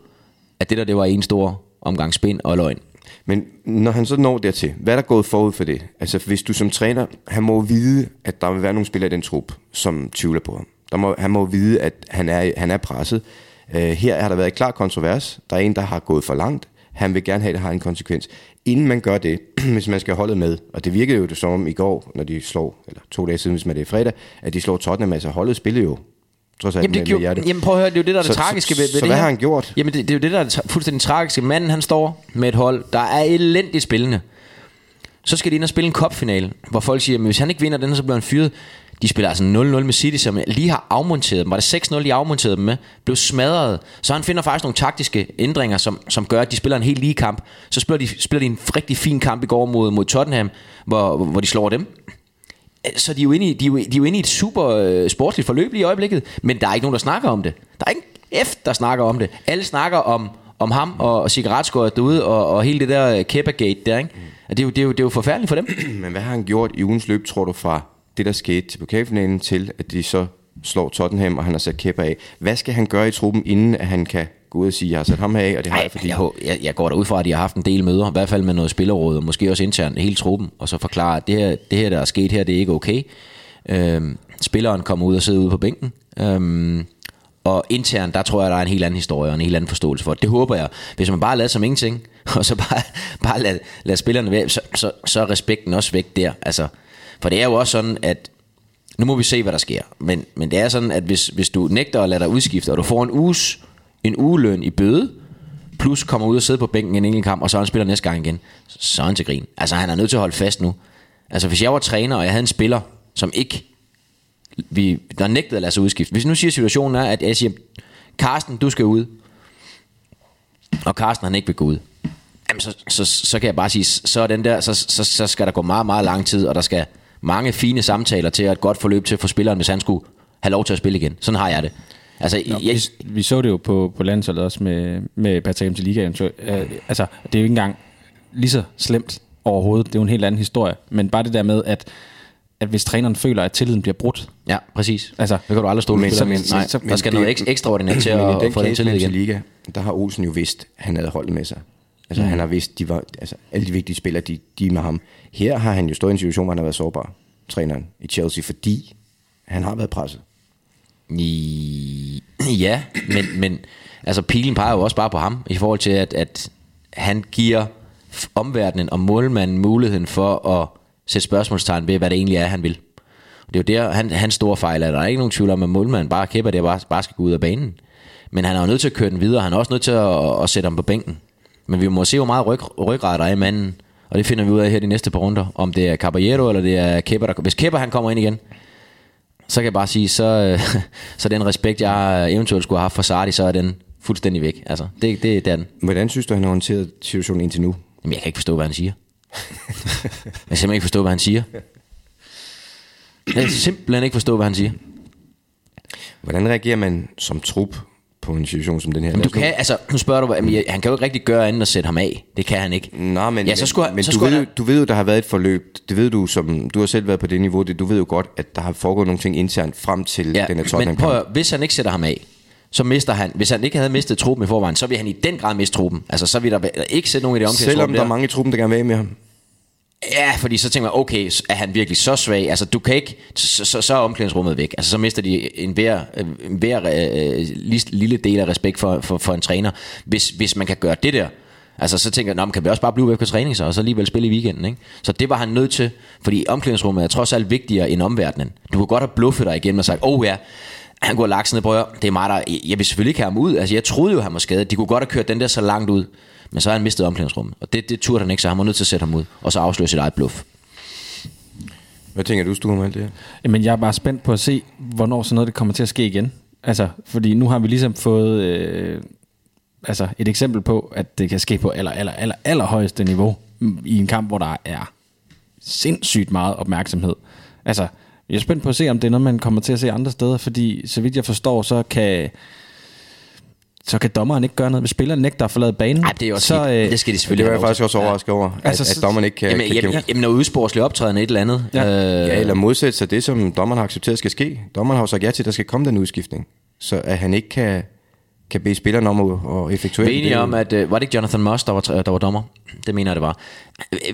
C: at det der, det var en stor omgang spin og løgn.
B: Men når han så når dertil, hvad er der gået forud for det? Altså hvis du som træner, han må jo vide, at der vil være nogle spillere i den trup, som tvivler på ham. Der må, han må vide, at han er, han er presset. Øh, her har der været et klar kontrovers. Der er en, der har gået for langt. Han vil gerne have, at det har en konsekvens. Inden man gør det, hvis man skal holde med, og det virkede jo det som om i går, når de slår, eller to dage siden, hvis man det er fredag, at de slår Tottenham, altså holdet spillede jo trods alt
C: Jamen, det
B: med, med
C: gjorde,
B: hjertet.
C: jamen prøv at høre, det er jo det, der er det
B: Så-
C: tragiske
B: så-
C: ved, ved
B: så
C: det
B: hvad
C: her.
B: har han gjort?
C: Jamen det, det er jo det, der er det tra- fuldstændig tragiske. Manden han står med et hold, der er elendigt spillende. Så skal de ind og spille en kopfinale, hvor folk siger, at hvis han ikke vinder den, her, så bliver han fyret. De spiller altså 0-0 med City, som lige har afmonteret dem. Var det 6-0, de afmonterede dem med? Blev smadret. Så han finder faktisk nogle taktiske ændringer, som, som gør, at de spiller en helt lige kamp. Så spiller de, spiller de en rigtig fin kamp i går mod, mod Tottenham, hvor, hvor de slår dem. Så de er jo inde i, de er jo, de er jo inde i et super øh, sportsligt forløb lige i øjeblikket, men der er ikke nogen, der snakker om det. Der er ingen F, der snakker om det. Alle snakker om, om ham og, og cigaretskåret derude og, og hele det der øh, Kepa-gate der, ikke? Og det er, jo, det, er jo, det er jo forfærdeligt for dem.
B: Men hvad har han gjort i ugens løb, tror du, fra det, der skete til pokalfinalen, til at de så slår Tottenham, og han har sat kæpper af? Hvad skal han gøre i truppen, inden at han kan gå ud og sige, jeg har sat ham her af, og det har
C: Nej,
B: jeg, fordi...
C: jeg, hå- jeg, jeg går da ud fra, at de har haft en del møder, i hvert fald med noget spillerråd, og måske også internt hele truppen, og så forklare, at det her, det her der er sket her, det er ikke okay. Øhm, spilleren kommer ud og sidder ude på bænken. Øhm, og internt, der tror jeg, der er en helt anden historie og en helt anden forståelse for det. Det håber jeg. Hvis man bare lader som ingenting, og så bare, bare lader, lader spillerne være, så, så, så er respekten også væk der. Altså, for det er jo også sådan, at nu må vi se, hvad der sker. Men, men det er sådan, at hvis, hvis du nægter at lade dig udskifte, og du får en uges, en ugeløn i bøde, plus kommer ud og sidder på bænken en enkelt kamp, og så er han spiller næste gang igen, så er han til grin. Altså, han er nødt til at holde fast nu. Altså, hvis jeg var træner, og jeg havde en spiller, som ikke vi, der nægtede at lade sig udskifte. Hvis nu siger situationen er, at jeg siger, Karsten, du skal ud, og Karsten han ikke vil gå ud, jamen så, så, så kan jeg bare sige, så, er den der, så, så, så skal der gå meget, meget lang tid, og der skal mange fine samtaler til, og et godt forløb til for spilleren, hvis han skulle have lov til at spille igen. Sådan har jeg det. Altså, Nå, jeg,
D: Vi, vi så det jo på, på landsholdet også med, med Patrick Ham til ligaen. Så, øh, altså, det er jo ikke engang lige så slemt overhovedet. Det er jo en helt anden historie. Men bare det der med, at, at hvis træneren føler, at tilliden bliver brudt,
C: ja, præcis.
D: Altså,
C: det kan du aldrig stole
B: Men-
C: på. spilleren.
B: men-
C: Nej,
B: så-
C: der
B: men
C: skal
B: det-
C: noget ekstra, ekstraordinært til
B: Men i
C: at få den
B: case
C: tillid
B: med
C: igen.
B: Liga, der har Olsen jo vidst, at han havde holdet med sig. Altså, mm. han har vidst, de var, altså, alle de vigtige spillere, de, de er med ham. Her har han jo stået i en situation, hvor han har været sårbar, træneren i Chelsea, fordi han har været presset.
C: I, ja, men, men altså pilen peger jo også bare på ham, i forhold til, at, at han giver f- omverdenen og målmanden muligheden for at sætte spørgsmålstegn ved, hvad det egentlig er, han vil. Og det er jo der, han, hans store fejl er, der er ikke nogen tvivl om, at målmanden bare kæpper det, bare, bare skal gå ud af banen. Men han er jo nødt til at køre den videre, han er også nødt til at, at sætte ham på bænken. Men vi må se, hvor meget ryg, ryggrad der er i manden, og det finder vi ud af her de næste par runder, om det er Caballero eller det er Kæpper, der Hvis Kæpper han kommer ind igen, så kan jeg bare sige, så, øh, så den respekt, jeg eventuelt skulle have haft for Sardi, så er den fuldstændig væk. Altså, det, det, det er den.
B: Hvordan synes du, han har håndteret situationen indtil nu?
C: Jamen, jeg kan ikke forstå, hvad han siger. jeg kan simpelthen ikke forstå, hvad han siger. Jeg kan simpelthen ikke forstå, hvad han siger.
B: Hvordan reagerer man som trup på en situation som den her?
C: Men du
B: Lad os nu-
C: kan, altså, nu spørger du, hvad- jamen, jeg- han kan jo ikke rigtig gøre andet end at sætte ham af. Det kan han ikke.
B: Nå, men,
C: ja, så skulle, han-
B: men
C: så
B: du,
C: skulle
B: ved,
C: han-
B: jo- du ved jo, der har været et forløb. Det ved du, som du har selv været på det niveau. Det, du ved jo godt, at der har foregået nogle ting internt frem til ja, den her
C: men prøv at,
B: Tottenham-kamp.
C: høre, hvis han ikke sætter ham af, så mister han, hvis han ikke havde mistet truppen i forvejen, så vil han i den grad miste truppen. Altså, så vil der være- ikke sætte nogen i det omkring
B: Selvom der er mange i truppen, der gerne vil af med ham.
C: Ja, fordi så tænker man, okay, s- er han virkelig så svag? Altså, du kan ikke, så, så, så er omklædningsrummet væk. Altså, så mister de en hver, øh, en hver øh, lis- lille del af respekt for, for, for en træner, hvis, hvis man kan gøre det der. Altså, så tænker jeg, "Nå, men kan vi også bare blive væk på træning så, og så alligevel spille i weekenden, ikke? Så det var han nødt til, fordi omklædningsrummet er trods alt vigtigere end omverdenen. Du kunne godt have bluffet dig igen og sagt, åh oh, ja, han går laks ned, prøv at høre, det er mig, der, jeg vil selvfølgelig ikke have ham ud. Altså, jeg troede jo, han var skadet. De kunne godt have kørt den der så langt ud. Men så har han mistet omklædningsrummet. Og det, det turde han ikke, så han var nødt til at sætte ham ud. Og så afsløre sit eget bluff.
B: Hvad tænker du, Stue, om alt det her?
D: Jamen, jeg er bare spændt på at se, hvornår sådan noget det kommer til at ske igen. Altså, fordi nu har vi ligesom fået øh, altså et eksempel på, at det kan ske på aller, aller, aller, allerhøjeste niveau mm, i en kamp, hvor der er sindssygt meget opmærksomhed. Altså, jeg er spændt på at se, om det er noget, man kommer til at se andre steder, fordi så vidt jeg forstår, så kan så kan dommeren ikke gøre noget. Hvis spilleren nægter at forlade banen,
C: Ej, det er også
D: så, øh,
C: helt- det skal de
B: Det
C: selvfølgelig
B: var jeg
C: have lov
B: faktisk
C: til.
B: også overrasket over, at,
D: Altså,
B: altså, at
D: så-
B: dommeren ikke kan,
C: Jamen,
B: kan
C: jamen,
B: give
C: jamen, jamen noget udsporslig optræden et eller andet.
D: Ja.
C: Øh,
B: Ja, eller modsætte sig det, som dommeren har accepteret skal ske. Dommeren har jo sagt ja til, at der skal komme den udskiftning. Så at han ikke kan, kan bede spilleren om at, at effektuere
C: Vi er enige
B: det.
C: om, at øh, var det Øh, ikke Jonathan Moss, der var, der var dommer? Det mener jeg, det var.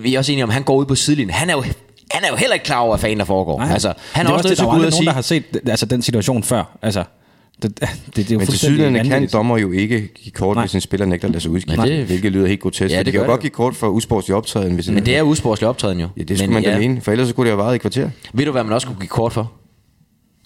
C: Vi er også enige om, at han går ud på sidelinjen. Han er jo han er jo heller ikke klar over, hvad fanden der foregår. Nej, altså, han
D: det
C: er også nødt til
D: det, der
C: at
D: var
C: gå ud
D: aldrig
C: og
D: nogen,
C: sige,
D: der har set altså, den situation før. Altså, det, det, det, det er jo
B: Men til
D: fuldstændig
B: sydlandet kan
D: vanvittigt.
B: dommer jo ikke give kort,
D: Nej.
B: hvis en spiller nægter at lade sig udskifte,
C: Nej, det-
B: hvilket lyder helt grotesk.
C: Ja,
B: Ja,
C: det
B: det de kan
C: gør
B: jo godt
C: det.
B: give kort for usportslig optræden, hvis
C: men det er usportslig optræden jo.
B: Ja, det skulle man da mene, for ellers så kunne det have varet i et kvarter.
C: Ved du, hvad man også kunne give kort for?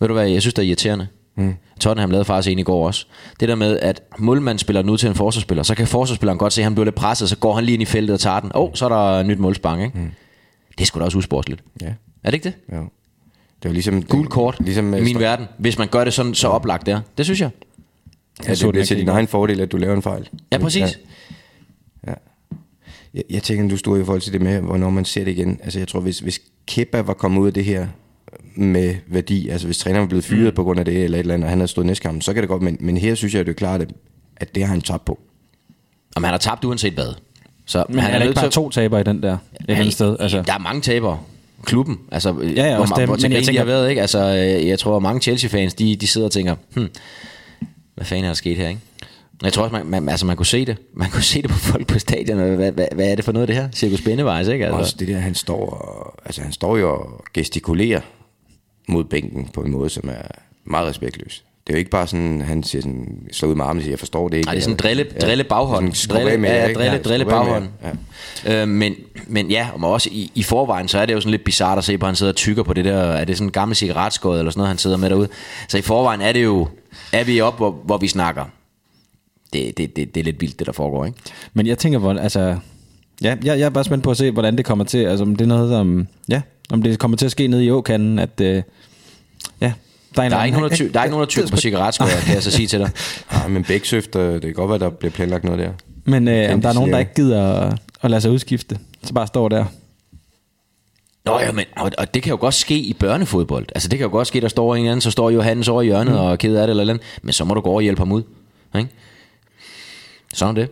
C: Ved du, hvad jeg synes, der er irriterende? Mm. Tottenham lavede faktisk en i går også. Det der med, at målmanden spiller den ud til en forsvarsspiller, så kan forsvarsspilleren godt se, at han bliver lidt presset, så går han lige ind i feltet og tager den. Åh, oh, så er der nyt målspark, ikke? Mm. Det er sgu da også usportsligt.
B: Ja.
C: Er det ikke det?
B: Jo. Det var ligesom...
C: Gul kort
B: Ligesom,
C: ligesom, i min verden, hvis man gør det sådan så oplagt der. Det synes jeg.
B: Ja,
D: så
B: det
D: den
B: bliver
D: ikke
B: til din
D: lige.
B: egen fordel, at du laver en fejl.
C: Ja, præcis.
B: Jeg, jeg tænker, du stod i forhold til det med, hvornår man ser det igen. Altså, jeg tror, hvis, hvis Kepa var kommet ud af det her med værdi, altså hvis træneren var blevet fyret mm. på grund af det, eller et eller andet, og han havde stået næste kamp, så kan det godt, men, men her synes jeg, at det er klart, at, at det har han tabt på.
C: Og han har tabt uanset hvad. Så
D: Men han er, er der ikke bare to taber i den der et eller andet sted? Altså,
C: Der er mange tabere. Klubben, altså, ja, ja,
D: ja,
C: hvor,
D: også
C: dem,
D: dem,
C: hvor
D: men
C: men jeg
D: jeg
C: tænker,
D: tænker-
C: har været, ikke? Altså, øh, jeg tror, at mange Chelsea-fans, de, de sidder og tænker, hmm, hvad fanden er der sket her, ikke? Men Jeg tror også, man, man, altså, man kunne se det. Man kunne se det på folk på stadion. og Hvad, hvad, hvad er det for noget, det her? Cirkus Bindevejs, ikke?
B: Altså.
C: Altså,
B: Også det der, han står, og, altså, han står jo og gestikulerer mod bænken på en måde, som er meget respektløs. Det er jo ikke bare sådan, han siger sådan, slår ud med armen og siger, jeg forstår det ikke.
C: Nej, det er sådan en drille,
B: Ja.
C: drille baghånd.
B: Sådan, "Skub af
C: drille,
B: med jer,
C: ja,
B: ikke?"
C: drille,
B: Ja,
C: drille
B: "Skub af med jer."
C: baghånd. Ja. Øh, men, men ja, og også i, i forvejen, så er det jo sådan lidt bizart at se på, at han sidder og tykker på det der, er det sådan en gammel cigaretskåd eller sådan noget, han sidder med derude. Så i forvejen er det jo, er vi op, hvor, hvor vi snakker. Det, det, det, det er lidt vildt, det der foregår, ikke?
D: Men jeg tænker, hvor, altså, ja, jeg, jeg er bare spændt på at se, hvordan det kommer til, altså om det er noget, som, ja, om det kommer til at ske nede i åkanden, at, øh, ja, der er, en
C: Der er ikke
D: anden-
C: nogen, der ty- der er ikke nogen, der tykker på cigaretskåder, kan jeg så sige til dig.
B: Ja, men Bæksøft, øh, det kan godt være, der bliver planlagt noget der.
D: Men øh, om
B: Kendte
D: der er nogen, der
B: cirka.
D: ikke gider at, at lade sig udskifte, så bare står der.
C: Nå ja, men, og, og det kan jo godt ske i børnefodbold. Altså det kan jo godt ske, der står en eller anden, så står Johannes over i hjørnet mm. og er ked af det eller et eller andet. Men så må du gå over og hjælpe ham ud. Ikke? Sådan er det.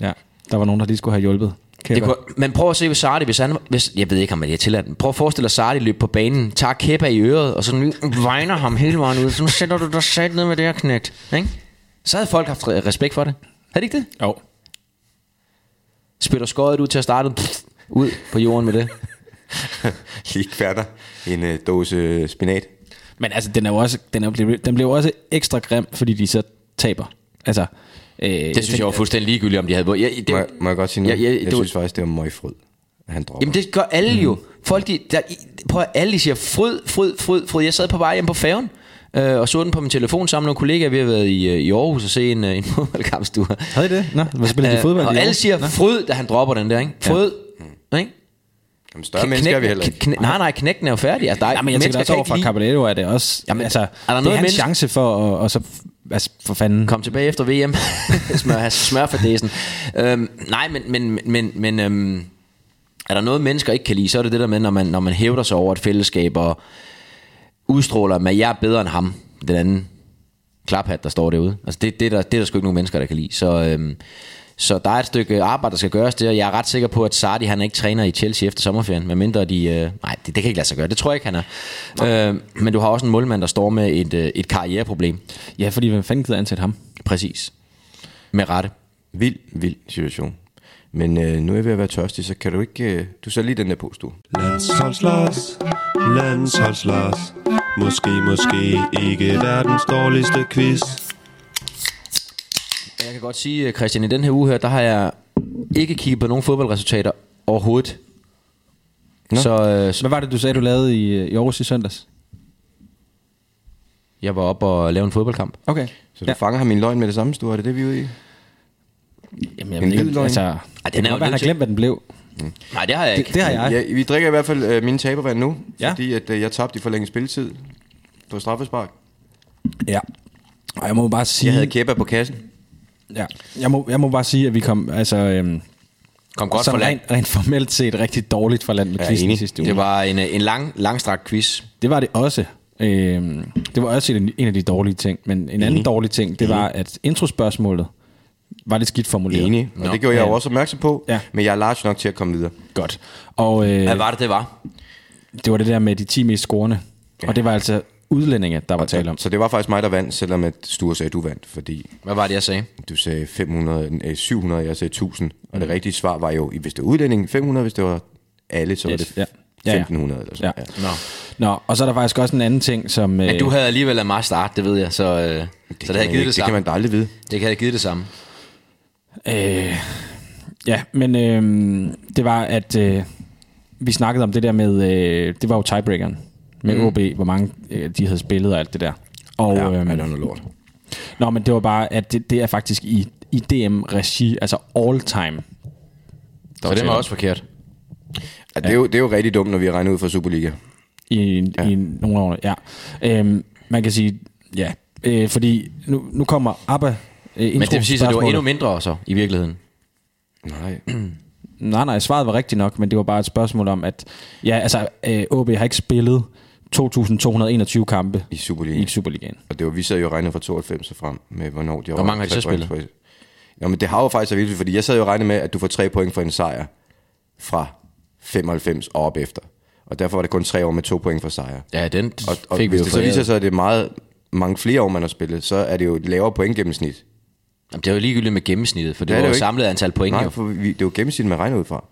D: Ja, der var nogen, der lige skulle have hjulpet. Kæber.
C: Det kunne, men prøv at se, hvis Sardi, hvis han, hvis, jeg ved ikke, om det er tilladt, men prøv at forestille dig, at Sardi løb på banen, tager Keppa i øret, og så nu vejner ham hele vejen ud, så nu sætter du dig sat ned med det her knægt. Ikke? Så havde folk haft re- respekt for det. Havde de ikke det?
D: Jo.
C: Spytter skåret ud til at starte pff, ud på jorden med det.
B: Lige kværter en øh, dåse spinat.
D: Men altså, den, er jo også, den, er, jo blevet- den blev også ekstra grim, fordi de så taber. Altså, øh,
C: Det synes jeg var fuldstændig ligegyldigt, om de havde vundet. Jeg, det,
B: Må, jeg- må jeg godt sige noget?
C: Ja, ja,
B: jeg
C: det var-
B: synes faktisk, det var møgfryd, han dropper.
C: Jamen det gør alle
D: Mhm.
C: jo. Folk, de, der, i- prøv at alle de siger, fryd, fryd, fryd, fryd. Jeg sad på vej hjem på færgen, øh, og så den på min telefon sammen med nogle kollegaer. Vi har været i, øh, i Aarhus og se en, øh, en fodboldkampstue.
D: Havde I det? Nå, hvor spillede de
C: Øh,
D: fodbold?
C: Og
D: i
C: alle
D: år?
C: siger fryd, da han dropper den der, ikke? Fryd, ja. ikke?
B: Jamen, større mennesker er vi heller ikke.
C: knæ, nej, nej, knækken er jo færdig. Altså, der er,
D: Nej, men jeg tænker
C: mennesker
D: også
C: kan
D: over
C: ikke
D: for
C: lige
D: Caballero, er det også...
C: Jamen,
D: Jamen, altså,
C: er
D: er
C: der noget
D: det er hans
C: menneske-
D: chance for at... Og så, altså, for fanden...
C: komme tilbage efter VM. Smør, smørfadesen. Øhm, nej, men, men, men, men øhm, er der noget, mennesker ikke kan lide, så er det det der med, når man, når man hævder sig over et fællesskab og udstråler, at jeg er bedre end ham, den anden klaphat, der står derude. Altså det, det, er der, det er der sgu ikke nogen mennesker, der kan lide. Så, øhm, så der er et stykke arbejde, der skal gøres der. Jeg er ret sikker på, at Sardi han er ikke træner i Chelsea efter sommerferien, medmindre de... Øh, nej, det, det, kan ikke lade sig gøre. Det tror jeg ikke, han er. Øh, men du har også en målmand, der står med et, øh, et karriereproblem.
D: Ja, fordi hvem fanden gider ansætte ham?
C: Præcis. Med rette.
B: Vild, vild situation. Men øh, nu er jeg ved at være tørstig, så kan du ikke... Øh, du så lige den der pose, du.
G: Landsholdslars, landsholdslars Måske, måske ikke verdens dårligste quiz
C: Jeg kan godt sige, Christian, i den her uge her, der har jeg ikke kigget på nogen fodboldresultater overhovedet. Nå. Så øh, så
D: Hvad var det, du sagde, du lavede i, øh, i Aarhus i søndags?
C: jeg var op og lavede en fodboldkamp.
D: Okay.
B: Så du ja. fanger ham i en løgn med det samme, du. Er det det, vi er ude i?
D: Jamen, jeg
B: En
D: ved
B: hvid
D: ikke,
B: løgn.
D: altså...
C: er
D: Ej,
C: jo
D: den er jo
C: nødt
D: han har
C: til.
D: glemt, hvad den blev.
C: Nej, det har jeg ikke.
D: Det, det har jeg.
B: Ja, vi drikker i hvert fald øh, mine tabervand nu,
D: Ja.
B: ja. fordi at, øh, jeg tabte i forlænget spilletid på straffespark.
D: Ja. Og jeg må bare sige...
B: Jeg havde kæppe på kassen.
D: ja. jeg, må, jeg må bare sige, at vi kom... Altså, øhm,
C: Kom godt for
D: sådan
C: land.
D: rent, rent formelt set rigtig dårligt for land med
B: Ja,
D: quizzen
B: enig.
D: sidste uge.
C: Det var en, øh, en lang, langstrakt quiz.
D: Det var det også. Øhm, det var også en, en af de dårlige ting. Men en anden dårlig ting, det var, at introspørgsmålet var lidt skidt formuleret.
B: Enig. Og
C: Nå.
B: det gjorde jeg jo også opmærksom på,
D: Ja.
B: ja. men jeg er large nok til at komme videre.
D: Godt. Og, øh,
C: Hvad var det, det var?
D: Det var det der med de 10 mest scorende. Ja. Og det var altså udlændinge, der var tale om.
B: Så det var faktisk mig, der vandt, selvom at Sture sagde, at du vandt, fordi
C: Hvad var det, jeg sagde?
B: Du sagde 500, øh, 700, jeg sagde 1000. Og det rigtige svar var jo, hvis det var udlænding, 500, hvis det var alle, så var
D: Yes,
B: det
D: ja. Ja, ja.
B: 1500 eller sådan
D: Ja.
B: noget.
C: Nå.
D: Nå, og så er der faktisk også en anden ting, som... øh,
C: Men du havde alligevel lavet meget start, det ved jeg, så, øh, det så det
B: kan
C: havde
B: man ikke-
C: givet det
B: det kan
C: samme.
B: man da aldrig vide.
C: Det havde givet det samme.
D: Øh, ja, men øh, det var, at øh, vi snakkede om det der med, øh, det var jo tiebreakeren med mm. OB, hvor mange øh, de havde spillet og alt det der. Og,
B: Ja,
D: øhm,
B: ja, det var noget lort.
D: Nå, men det var bare, at det, det er faktisk i, i DM-regi, altså all time.
C: Så det var også forkert.
B: Ja, det, er jo, det er jo rigtig dumt, når vi regner ud fra Superliga.
D: i, en, ja. i en, nogle år. Ja. Øhm, man kan sige, ja, øh, fordi nu, nu kommer ABBA øh,
C: Men det vil sige, at det var endnu mindre så, i virkeligheden.
B: Nej.
D: Nej, nej, svaret var rigtigt nok, men det var bare et spørgsmål om, at ja, altså, øh, OB har ikke spillet 2.221 kampe
B: I Superligaen.
D: i Superligaen.
B: Og det var, vi sad jo og regnede fra 92 og frem med, hvornår de Hvor
C: mange har de så spillet?
B: Jo, men det har jo faktisk været vildt, fordi jeg sad jo og regnede med, at du får tre point for en sejr fra 95 og op efter. Og derfor var det kun tre år med to point for sejr.
C: Ja, den
B: Og, og
C: fik vi
B: hvis
C: jo
B: det så
C: foræret.
B: viser sig, at det er meget, mange flere år, man har spillet, så er det jo et lavere pointgennemsnit.
C: Jamen, det var jo ligegyldigt med gennemsnittet, for det,
B: er det
C: det var jo
B: jo ikke.
C: samlet antal point.
B: Nej,
C: jo.
B: for vi, det er jo gennemsnit, man regner ud fra.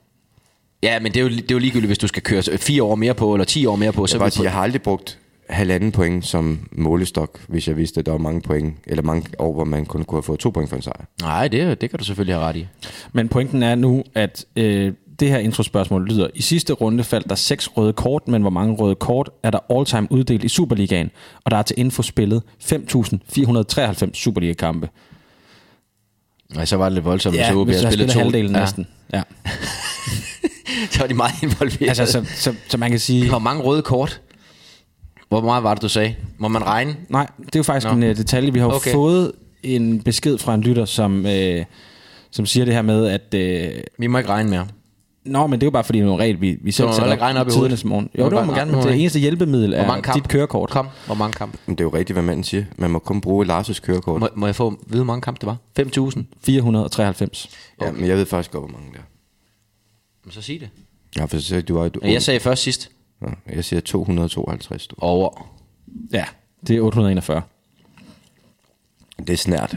C: Ja, men det er, jo, det er jo ligegyldigt, hvis du skal køre så- fire år mere på, eller ti år mere på. Så
B: Jeg,
C: er
B: bare
C: vi på
B: sige, jeg har aldrig brugt halvanden point som målestok, hvis jeg vidste, at der var mange point, eller mange år, hvor man kun kunne have fået to point for en sejr.
C: Nej, det, det kan du selvfølgelig have ret i.
D: Men pointen er nu, at øh, det her introspørgsmål lyder, i sidste runde faldt der seks røde kort, men hvor mange røde kort er der all-time uddelt i Superligaen? Og der er til info spillet 5.493 Superliga-kampe.
C: Nej, så var det lidt voldsomt, hvis OB
D: hvis
C: havde
D: jeg
C: spillet to.
D: halvdelen
C: ja.
D: ja. næsten. Ja.
C: Så var de meget involveret.
D: Altså, så, så, så man kan sige...
C: Hvor mange røde kort? Hvor meget var det, du sagde? Må man regne?
D: Nej, det er jo faktisk
C: Nå.
D: Nå. en uh, detalje. Vi har jo
C: Okay.
D: okay. fået en besked fra en lytter, som, øh, som siger det her med, at... Øh,
C: Vi må ikke regne mere.
D: Nå, men det er jo bare fordi, det er nogle regel, vi, vi selv
C: må
D: sætter
C: heller ikke regne op i hovedet.
D: tidernes morgen.
C: Må
D: Jo, det må
C: bare-
D: man
C: må
D: gerne. men
C: man
D: Det
C: ikke.
D: eneste hjælpemiddel
C: Hvor mange
D: er
C: kamp?
D: dit kørekort.
C: Kom, hvor mange kamp?
B: Men det er jo rigtigt, hvad manden siger. Man må kun bruge Lars' kørekort.
C: Må, må jeg få at vide, hvor mange kamp det var? 5.000?
D: 493.
B: Ja, men jeg ved faktisk godt, hvor mange der er.
C: Men Så sig det.
B: Ja, for så sagde du, du
C: Ja, Jeg sagde først sidst.
B: ja, jeg siger 252. Du.
C: Over.
D: Ja, det er 841.
B: Det er snært.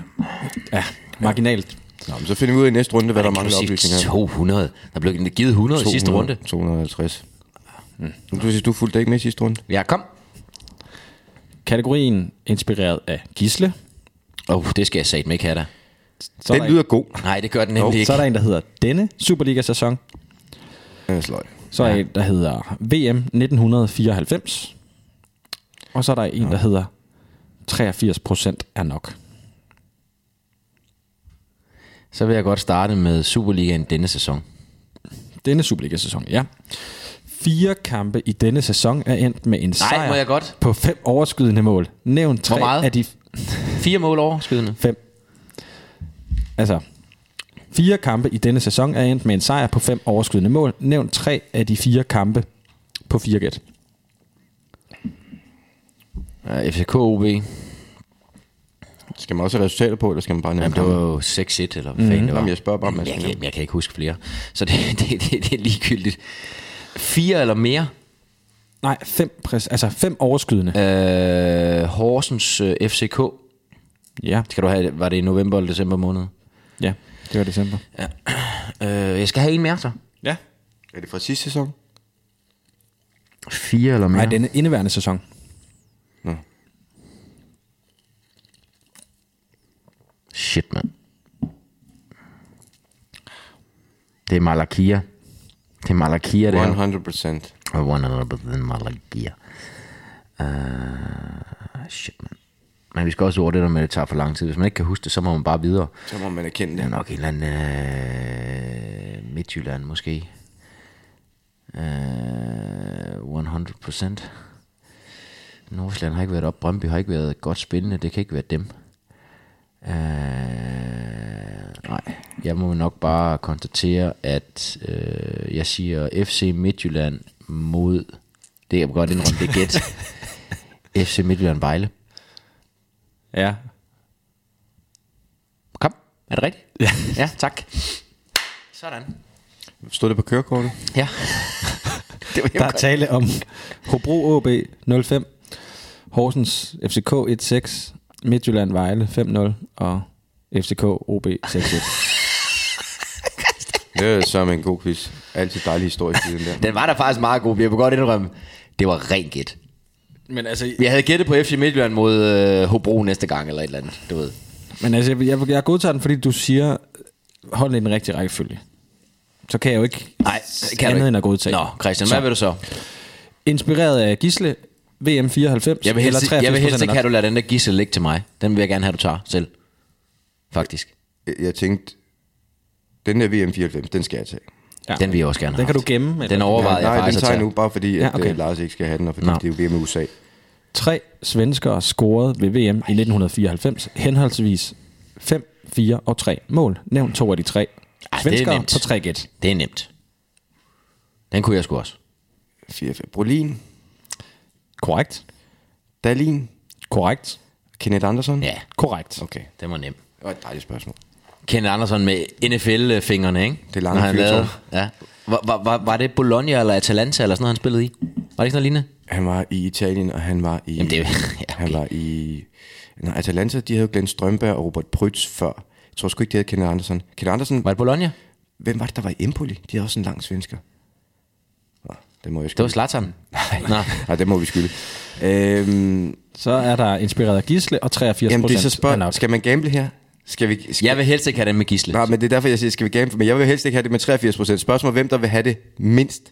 D: Ja, marginalt.
B: Nå, men så finder vi ud af i næste runde, hvad der
C: Kan du
B: mangler
C: sige
B: oplysninger.
C: 200. Der blev givet 100 i sidste runde.
B: 250. Mm. Du, siger, du fulgte ikke med i sidste runde.
C: Ja, kom.
D: Kategorien inspireret af Gisle.
C: Åh, oh, det skal jeg satme ikke have da.
D: Så er
B: den
D: der
B: lyder god.
C: Nej, det gør den nemlig
D: en,
C: ikke.
D: Så er der en, der hedder denne Superliga-sæson.
B: Den er sløj.
D: Så er ja. en, der hedder VM 1994. Og så er der en, der hedder 83 procent er nok.
C: Så vil jeg godt starte med Superligaen denne sæson.
D: Denne Superliga-sæson, ja. Fire kampe i denne sæson er endt med en sejr
C: må jeg godt?
D: på fem overskydende mål. Nævn tre
C: meget?
D: af de
C: Fire mål over skydende.
D: fem. Altså, fire kampe i denne sæson er endt med en sejr på fem overskydende mål. Nævn tre af de fire kampe på fire gæt.
C: Ja, FCK OB.
B: Skal man også have resultater på, eller skal man bare nævne
C: Jamen, det var jo 6-1, eller hvad fanden det var.
B: Jamen, jeg spørger bare, om man
C: Mhm. jeg,
B: skal
C: kan,
B: nævne.
C: jeg kan ikke huske flere. Så det, det, det, det er ligegyldigt. Fire eller mere.
D: Nej, fem, præs- altså fem overskydende. Ja.
C: Øh, Horsens øh, FCK.
D: ja.
C: Skal du have, var det i november eller december måned?
D: Ja, det var december.
C: Øh, jeg skal have en mere, så.
D: Ja.
B: Er det fra sidste sæson?
C: Fire eller mere.
D: Nej, denne indeværende sæson.
C: Shit, mand. Det er Malakia. Det er Malakia, det her.
B: 100 procent.
C: 100% Malakia. Uh, shit, mand. Men vi skal også over det der med, at det tager for lang tid. Hvis man ikke kan huske det, så må man bare videre.
B: Så må man erkende
C: Det er
B: det.
C: nok en eller anden øh, Midtjylland måske. Øh, 100%. Nordsjælland har ikke været op. Brøndby har ikke været godt spillende. Det kan ikke være dem. Øh, nej. Jeg må nok bare konstatere, at øh, jeg siger FC Midtjylland mod... Det er godt indrømme, det er gæt. FC Midtjylland Vejle.
D: Ja.
C: Kom, er det rigtigt? Ja. Ja, tak. Sådan.
B: Stod det på kørekortet?
C: Ja. det var
D: Der er tale om Hobro OB 05, Horsens FCK 1-6, Midtjylland Vejle 5-0 og FCK OB 6-1.
B: Det er så en god quiz. Altid dejlig historie i den der.
C: Den var da faktisk meget god, jeg vil godt indrømme. Det var rent gæt.
D: Men altså,
C: Vi havde gættet på FC Midtjylland mod øh, Hobro næste gang, eller et eller andet, du ved.
D: men altså jeg, jeg, jeg godtager den, fordi du siger, hold den i den rigtige rækkefølge. Så kan jeg jo ikke
C: Nej, kan
D: andet
C: du ikke.
D: end at godtage.
C: Nå, Christian, hvad vil du så?
D: Inspireret af Gisle, VM 94,
C: Jeg vil helst,
D: eller
C: jeg vil
D: 93
C: helst ikke have, at du lader den der gissel ligge til mig. Den vil jeg gerne have, at du tager selv. Faktisk.
B: Jeg- Jeg tænkte, den der VM94, den skal jeg tage.
D: Ja.
C: Den vil jeg også gerne have.
D: Den kan du
C: haft.
D: gemme, eller?
C: Den overvejede
B: Nej,
C: jeg
B: den
C: faktisk
B: tager
C: at
B: jeg nu,
C: tage.
B: bare fordi, at
D: Ja,
B: ja,
D: okay.
B: okay. Lars ikke skal have den, og fordi
C: Nå.
B: no. det er jo VM i USA.
D: Tre svenskere scorede ved VM i 1994, henholdsvis 5, 4 og 3 mål. Nævn to af de tre.
C: Ej, det er
D: svenskere
C: nemt.
D: på 3 gæt.
C: Det er nemt. Den kunne jeg sgu også.
D: Mm.
B: 4-5. Brolin,
D: Korrekt.
B: Dalin,
D: Korrekt.
B: Kenneth Andersen.
C: Ja,
D: Korrekt.
B: Okay,
C: den var nem.
B: det var et dejligt spørgsmål.
C: Kenneth Andersen med NFL-fingrene, ikke?
B: Det lange
C: Når han
B: fyrtårn.
C: lavede, ja. var, var, var, var, det Bologna eller Atalanta eller sådan noget, han spillede i? Var det ikke sådan noget lignende?
B: Han var i Italien, og han var i...
C: Jamen, det er- ja, okay.
B: Han var i... Nå, Atalanta, de havde jo Glenn Strømberg og Robert Prytz før. Jeg tror sgu ikke, de havde Kenneth Andersen. Kenneth Andersen,
C: Var det Bologna?
B: hvem var det, der var i Empoli? De havde også en lang svensker. Nå, det må jeg
C: Det
B: skylde.
C: var Zlatan. Nej.
B: Nej, det må vi skylde. Øhm,
D: Så er der inspireret af Gisle og 83
B: jamen, det er så
D: er nok.
B: spørg... Skal man gamble her? Skal vi... Skal...
C: Jeg vil helst ikke have den med gisle.
B: Nej, men det er derfor, jeg siger, skal vi gamble? Men jeg vil helst ikke have det med 83 procent. Spørgsmål, hvem der vil have det mindst?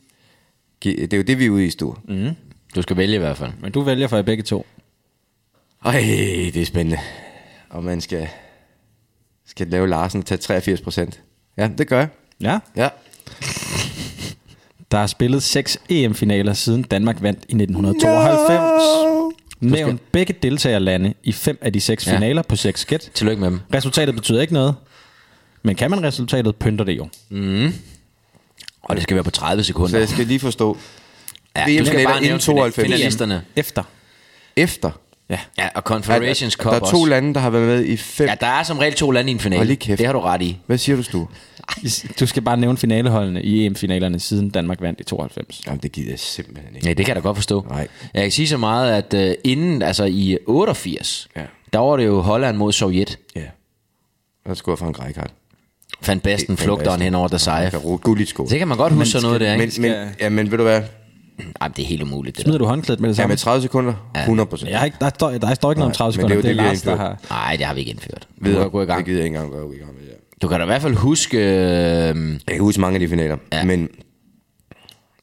B: Gi- Det er jo det, vi er ude i, Stor. Mm.
C: Du skal vælge i hvert fald.
D: Men du vælger for jer begge to.
B: Ej, det er spændende. Og man skal, skal lave Larsen og tage 83 procent. Ja, det gør jeg.
D: Ja.
B: Ja.
D: Der er spillet 6 EM-finaler siden Danmark vandt i 1992. No! Nævn begge deltagerlande i fem af de seks
C: Ja.
D: finaler på 6 gæt.
C: Tillykke med dem.
D: Resultatet betyder ikke noget. Men kan man resultatet, pynter det jo.
C: Og det skal være på 30
B: Så
C: sekunder.
B: jeg skal lige forstå.
C: Ja,
B: VM
C: du skal
B: finaler
C: bare
B: inden
C: nævne
B: 92.
C: Finalisterne.
D: Efter.
B: Efter.
D: Ja.
C: Ja, og Confederations Cup
B: der er to
C: også.
B: lande, der har været med i fem.
C: Ja, der er som regel to lande i en finale.
B: Hold lige kæft.
C: Det har du ret i.
B: Hvad siger du, Stue?
D: Du skal bare nævne finaleholdene i EM-finalerne, siden Danmark vandt i 92.
B: Jamen, det gider jeg simpelthen ikke.
C: Ja, det kan jeg da godt forstå.
B: Nej.
C: Jeg kan sige så meget, at uh, inden, altså i 88,
B: Ja.
C: der var det jo Holland mod Sovjet.
B: Ja. Der skulle jeg fra en grækart.
C: Fandt Basten flugteren hen over Desai.
B: Gullit sko.
C: Det kan man godt huske sådan noget der,
B: Men,
C: ikke?
B: men, ja, men ved du hvad?
C: Ej, men det er helt umuligt, det
D: Smider
C: der.
D: du håndklædet med det
B: Ja,
D: samme?
B: med 30 sekunder, 100 procent.
D: Jeg har ikke, der, står, der står ikke noget om 30
B: men
D: sekunder.
B: det er
D: Det
B: jo
D: er, det
B: det, vi
D: Lars,
B: har
D: der har...
C: Nej, det har vi ikke indført. Vi
B: Videre.
C: kan gå i
B: Det
C: gang.
B: gider jeg ikke engang gå i gang med. Ja.
C: Du kan da i hvert fald huske... Øh,
B: Jeg kan huske mange af de finaler, ja. men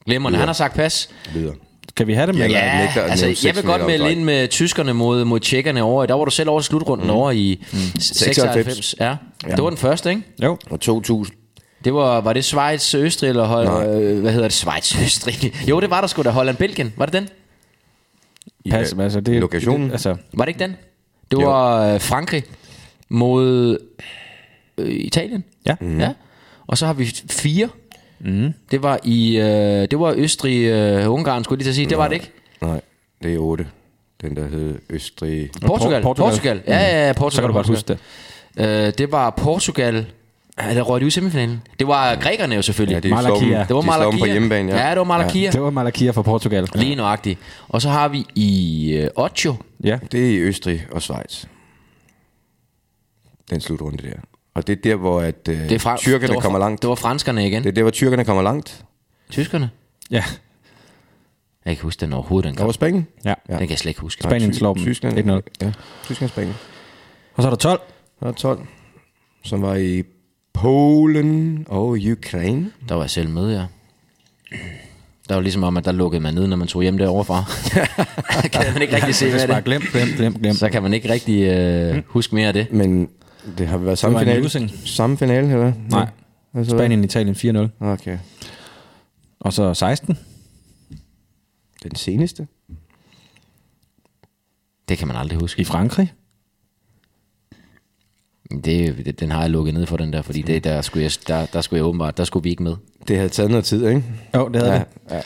C: glemmerne, han har sagt pas.
B: videre.
D: Kan vi have det med?
B: Ja,
D: Ja,
B: jeg
C: Ja,
B: nægter at nævne
C: altså, jeg
B: seks
C: vil godt
B: finaler
C: melde
B: om
C: ind med tyskerne mod, mod tjekkerne over. i- Der var du selv over i slutrunden mm. over i mm. 96. Ja. ja. Det var den første, ikke?
D: Jo.
B: Og 2000.
C: Det var, var det Schweiz, Østrig eller Hol- øh, hvad hedder det, Schweiz, Østrig? Jo, det var der sgu da Holland, Belgien. Var det den?
D: Pas,
B: Ja,
D: altså, det, er-
B: øh, lokationen.
D: Det, altså,
C: Var det ikke den? Det
B: Jo.
C: var øh, Frankrig mod øh, Italien.
D: ja.
C: Mm. Ja. Og så har vi fire. Mm. Det var i øh, det var Østrig, øh, Ungarn skulle jeg lige til at sige. Det var det ikke.
B: Nej, det er 8. Den der hed Østrig.
C: Portugal.
D: Por- Portugal.
C: Portugal. Portugal. Ja, ja, ja, Portugal.
D: Så kan du godt
C: Portugal.
D: huske det.
C: Øh, det var Portugal. Ja, der røg de ud i semifinalen. Det var grækerne jo selvfølgelig.
B: Ja, de slår
D: Malakia.
B: dem-
C: det var
B: de slår dem
C: Malakia.
B: på hjemmebane, ja.
C: ja, det var Malakia. Ja,
D: Det var Malakia fra Portugal.
C: Lige nøjagtigt. Og så har vi i øh, Ocho.
D: Ja.
B: Det er i Østrig og Schweiz. Den slutrunde der. Og det er der, hvor at, øh,
C: Det er fra,
B: tyrkerne
C: det var,
B: kommer langt.
C: Det var franskerne igen.
B: Det er
C: Det.
B: der, hvor tyrkerne kommer langt.
C: Tyskerne.
D: Ja.
C: Jeg kan ikke huske den overhovedet, den
B: Der var
C: kamp.
B: Spanien.
D: ja.
C: Den kan jeg slet ikke huske.
D: Spanien slår dem
B: Tyskland.
D: 1-0.
B: Ja, Tyskland og Spanien.
D: Og så er der 12.
B: Og 12, som var i Polen og Ukraine.
C: Der var jeg selv med, ja. Der var ligesom om, at der lukkede man ned, når man tog hjem derovre fra. kan man ikke rigtig se,
D: Det
C: hvad
D: er bare
C: det
D: glem, glem, glem, glem.
C: Så kan man ikke rigtig øh, huske mere af det.
B: Men det har været samme
D: Det var en
B: finale?
D: losing.
B: Samme finale, eller?
D: Nej.
B: Altså, hvad?
D: Spanien, Italien 4-0.
B: Okay.
D: Og så 16.
B: Den seneste?
C: Det kan man aldrig
D: I
C: huske.
D: Frankrig.
C: Det, det, den har jeg lukket ned for, den der, fordi det, der, skulle jeg, der, der skulle jeg åbenbart, der skulle vi ikke med.
B: Det havde taget noget tid, ikke?
D: Jo, det havde
B: ja,
D: det.
B: Ja.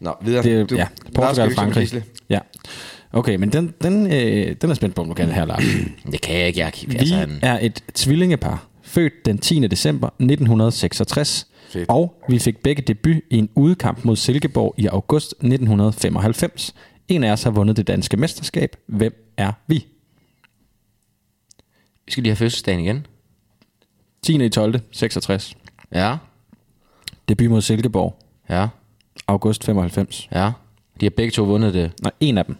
B: Nå, videre.
D: Det, du, ja,
B: Lars, skal
D: Portugal
B: vi
D: og
B: ikke
D: Frankrig.
B: til Gisle?
D: Ja. Okay, men den, den, øh, den er spændt på, om du kan det her, Lars.
C: Det kan jeg ikke. Jeg,
D: Vi
C: altså, han-
D: er et tvillingepar, født den 10. december 1966,
B: Fedt.
D: og vi fik begge debut i en udkamp mod Silkeborg i august 1995. En af os har vundet det danske mesterskab. Hvem er vi?
C: vi skal lige have fødselsdagen igen.
D: 10. i 12. 66.
C: Ja.
D: Debut mod Silkeborg.
C: Ja,
D: August 95.
C: ja. De har begge to vundet det.
D: Nej, en af dem.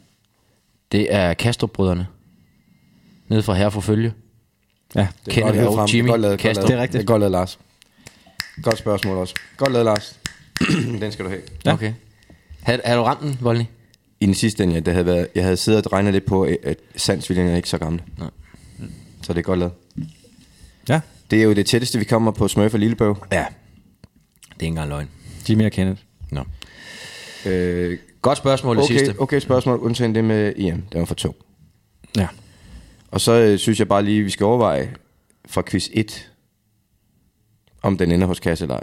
C: Det er Kastrup-brødrene. Nede fra herre forfølge.
D: Ja.
B: Det er
C: Kenneth
B: godt lavet
C: og
B: frem. Det er
C: Jimmy
B: godt lavet, godt
C: Kastrup.
B: lavet.
D: Det er rigtigt.
B: Det er godt lavet, Lars. Godt spørgsmål også. Godt lavet, Lars. den skal du have.
D: Ja.
C: Okay. Har, har du ramt den, Volny?
B: I den sidste ende, ja, der havde været, jeg havde siddet og regnet lidt på, at- at sandsviljen er ikke så gammel.
C: Nej.
B: Så det er godt lavet.
D: Ja.
B: Det er jo det tætteste, vi kommer på Smurf og Lillebøv.
C: Ja. Det er ikke engang løgn.
D: Jimmy og Kenneth.
C: Nå.
B: Øh,
C: Godt spørgsmål det
B: okay,
C: sidste.
B: okay, spørgsmål, undtagen det med EM. Det var for to.
D: Ja.
B: Og så øh, synes jeg bare lige, vi skal overveje fra quiz 1, om den ender hos kasse eller ej.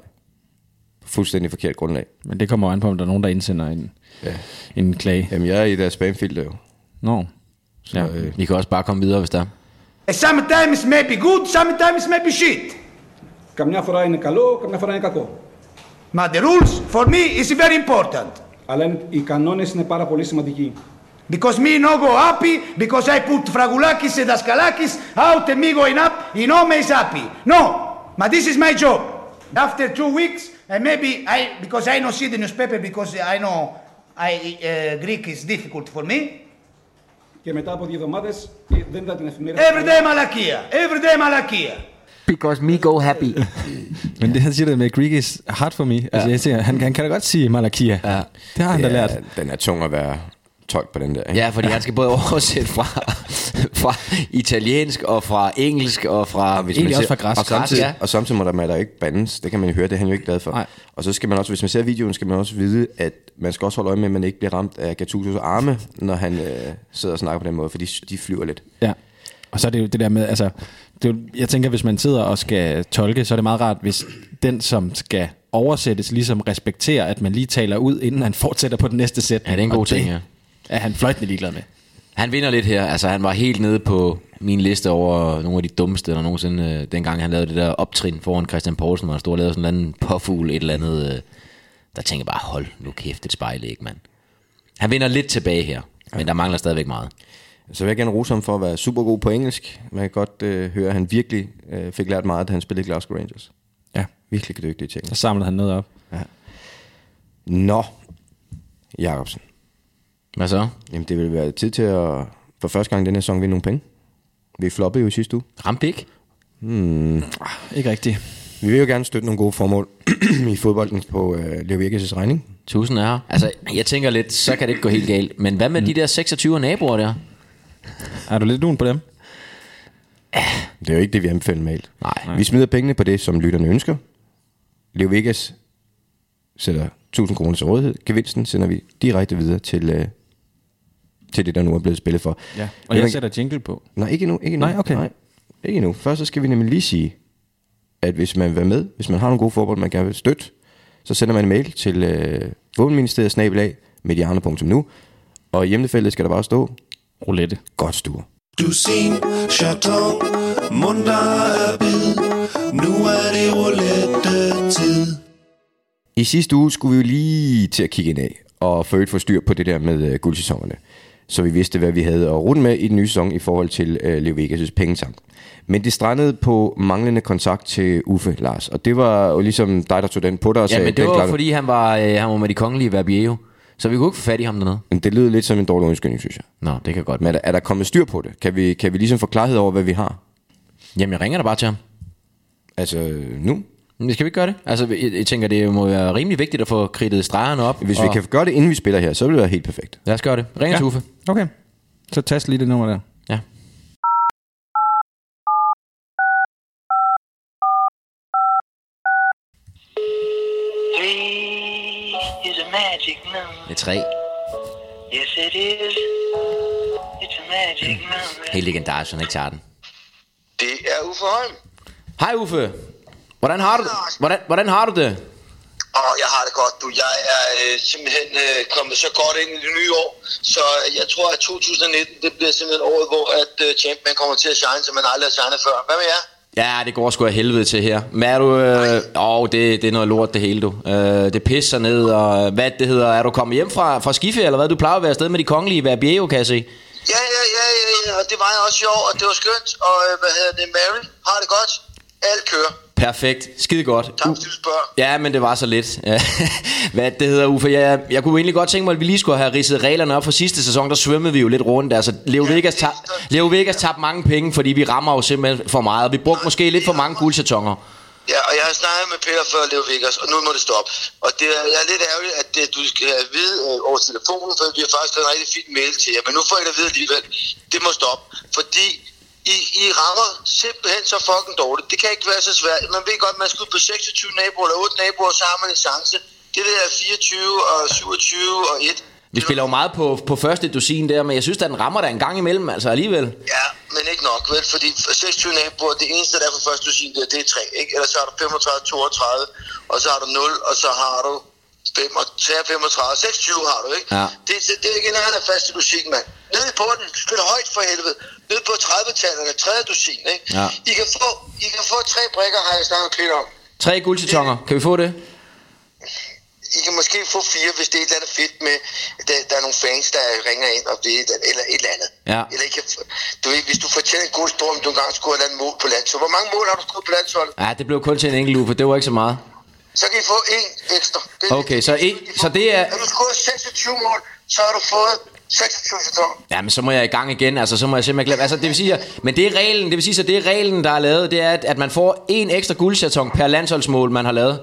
B: På fuldstændig forkert grundlag.
D: Men det kommer jo an på, om der er nogen, der indsender en,
B: Ja.
D: en klage.
B: Jamen, jeg er i deres spamfilter jo.
D: Nå. Ja.
B: øh,
C: Vi kan også bare komme videre, hvis der er.
E: And sometimes may be good, sometimes may be shit.
F: Καμιά φορά είναι καλό, καμιά φορά είναι κακό.
E: But the rules for me is very important.
F: Αλλά είναι- οι κανόνε είναι πάρα πολύ σημαντικοί.
E: Because me no go happy, because I put Fragulakis and Daskalakis out and me going up, and no me is happy. No, but this is my job. After two weeks, and maybe I, because I no see the newspaper, because I know I, uh, Greek is difficult for me.
F: Και μετά από δύο εβδομάδε δεν είδα την εφημερίδα.
E: Every day Malakia, every day Malakia.
C: Because me go happy.
D: Men det, han siger det med, Greek is hard for me. Ja. Altså, jeg siger, han, han kan da godt sige Malakia. Ja. Det har han da lært.
B: den er tung at være tolk på den der. Ikke?
C: ja, fordi han skal både oversætte fra, fra italiensk og fra engelsk og fra...
B: hvis
D: Egentlig
B: man
D: også
B: ser-
D: fra græsk.
B: Og samtidig,
C: Græsk, ja.
B: og samtidig må der, man der ikke bandes. Det kan man jo høre, det er han jo ikke glad for.
D: Nej.
B: Og så skal man også, hvis man ser videoen, skal man også vide, at man skal også holde øje med, at man ikke bliver ramt af Gattusos arme, når han øh, sidder og snakker på den måde, for de, de flyver lidt.
D: Ja. Og så er det jo det der med, altså, det er jo, jeg tænker, hvis man sidder og skal tolke, så er det meget rart, hvis den, som skal oversættes, ligesom respekterer, at man lige taler ud, inden han fortsætter på den næste sætning.
C: Ja, det er en god
D: Og
C: ting, ja.
D: er han fløjtende ligeglad med.
C: Han vinder lidt her. Altså, han var helt nede på min liste over nogle af de dummeste, der nogensinde, øh, dengang han lavede det der optrin foran Christian Poulsen, hvor han stod og lavede sådan en eller anden påfugl, et eller andet. Øh, der tænker jeg bare, hold nu kæft, et spejlæg, mand. Han vinder lidt tilbage her, men der mangler stadigvæk meget.
B: Så vil jeg gerne rose ham for at være super god på engelsk. Man kan godt øh, høre, at han virkelig øh, fik lært meget, da han spillede i Glasgow Rangers.
D: Ja.
B: Virkelig dygtig ting.
D: Så samlede han noget op.
B: Nå, Jacobsen.
C: Hvad så?
B: Jamen, det vil være tid til at for første gang i den her sæson vinde nogle penge. Vi floppede jo i sidste uge.
C: Ramte ikke?
D: Ikke rigtigt.
B: Vi vil jo gerne støtte nogle gode formål i fodbolden på øh, Leo Virkes' regning.
C: Tusind er her. Altså, jeg tænker lidt, så kan det ikke gå helt galt. Men hvad med de der 26 naboer der?
D: Er du lidt lun på dem?
B: Det er jo ikke det, vi anbefaler normalt.
C: Nej.
B: Vi smider pengene på det, som lytterne ønsker. Leo Vegas sætter 1000 kroner til rådighed. Gevinsten sender vi direkte videre til, øh, til det, der nu er blevet spillet for.
D: Og jeg sætter jingle på.
B: Nej, ikke nu. Ikke endnu.
D: Nej, okay.
B: Nej, ikke nu. Først så skal vi nemlig lige sige, at hvis man vil være med, hvis man har nogle gode forbold, man gerne vil støtte, så sender man en mail til øh, våbenministeriet snabelag mediano.nu og i hjemmefeltet skal der bare stå,
D: Roulette.
B: godt stuer.
G: Dusin, chaton, munter er bid. Nu er det roulette-tid.
B: I sidste uge skulle vi jo lige til at kigge ind af og få et forstyr på det der med øh, guldsæsonerne. Så vi vidste, hvad vi havde at runde med i den nye sæson i forhold til øh, Leo Vegas' pengetank. Men det strandede på manglende kontakt til Uffe, Lars. Og det var jo ligesom dig, der tog den på dig og
C: Ja,
B: sagde...
C: men det
B: den
C: var
B: klarer du.
C: jo fordi, han var, øh, han var med de kongelige Verbiero. Så vi kunne ikke få fat i ham dernede.
B: Men Det lyder lidt som en dårlig undskyldning, synes jeg.
C: Nå, det kan godt
B: Men er der, er der kommet styr på det? Kan vi, kan vi ligesom få klarhed over, hvad vi har?
C: Jamen, jeg ringer da bare til ham.
B: Altså nu?
C: Men skal vi ikke gøre det? Altså, jeg, jeg tænker, det må være rimelig vigtigt at få kridtet stregerne op.
B: Hvis
C: og
B: vi kan gøre det, inden vi spiller her, så vil det være helt perfekt.
C: Lad os gøre det. Ring ja. til Uffe.
D: Okay. Så tast lige det nummer der.
C: Ja.
H: Three is a magic number.
C: Det er tre.
H: Yes, it is. It's a magic number.
C: Helt legendarisk, han ikke tager den.
I: Det er Uffe Holm.
C: Hej Uffe. Hvordan har du, hvordan, hvordan har du det?
I: Og jeg har det godt, du. Jeg er øh, simpelthen øh, kommet så godt ind i det nye år, så jeg tror, at 2019 det bliver simpelthen året, hvor at øh, Champion kommer til at shine, som man aldrig har shinet før. Hvad med jer?
C: Ja, det går sgu af helvede til her. Men er du... Øh, åh, det, det er noget lort, det hele, du. Øh, det pisser ned, og øh, hvad det hedder... Er du kommet hjem fra, fra skiferie, eller hvad? Du plejer at være afsted med de kongelige Verbiero, kan jeg se.
I: Ja, ja, ja, ja, ja, og det var jeg også i år, og det var skønt, og øh, hvad hedder det, Mary har det godt. Alt kører.
C: Perfekt. Skide godt.
I: Tak, fordi du spørger.
C: Ja, men det var så lidt. Hvad det hedder, Uffe? Jeg, jeg kunne egentlig godt tænke mig, at vi lige skulle have ridset reglerne op for sidste sæson. Der svømmede vi jo lidt rundt. Altså, Leo Vegas, tab, Leo Vegas tabte mange penge, fordi vi rammer jo simpelthen for meget. Og vi brugte måske lidt for mange guldsætoner.
I: Ja, og jeg har snakket med Peter før, Leo Vickers, og nu må det stoppe. Og det er, jeg er lidt ærgerligt, at det, du skal have at vide øh, over telefonen, for vi har faktisk skrevet en rigtig fin mail til jer, men nu får I det at vide alligevel. Det må stoppe, fordi I, I rammer simpelthen så fucking dårligt. Det kan ikke være så svært. Man ved godt, man skal ud på 26 naboer eller 8 naboer, så har man en chance. Det der er 24 og 27 og 1.
C: Vi spiller jo meget på, på første dusin der, men jeg synes, at den rammer der en gang imellem, altså alligevel.
I: Ja, men ikke nok, vel? Fordi 26 naboer, det eneste, der er på første dusin, det er, det er 3, ikke? Ellers så har du 35, 32, og så har du 0, og så har du 5, og 35, 26 har du, ikke?
C: Ja.
I: Det, det, det er ikke en af fast i musikken, mand. Nede på den, spil højt for helvede. Nede på 30-tallerne, tredje dusin, ikke?
C: Ja.
I: I, kan få, I kan få tre brikker, har jeg snakket lidt om.
C: Tre guldsætoner. Kan vi få det?
I: I kan måske få fire, hvis det er et eller andet fedt med, der, der er nogle fans, der ringer ind og det, eller et eller andet.
C: Ja.
I: Eller I kan, f- du ved, hvis du fortæller en god historie, om du engang skulle have lavet mål på landsholdet. Hvor mange mål har du skudt på landsholdet?
C: Ja, det blev kun til en enkelt Uffe. Det var ikke så meget.
I: Så kan I få en ekstra. Det, er-
C: Okay, så en-
I: I
C: så
I: får-
C: det er-
I: Har du skåret 26 mål, så har du fået 26 sæsoner.
C: Ja, men så må jeg i gang igen, altså så må jeg simpelthen glemme. Altså det vil sige, at, men det er reglen, det vil sige, så det er reglen, der er lavet, det er, at, at man får en ekstra guldsæton per landsholdsmål, man har lavet.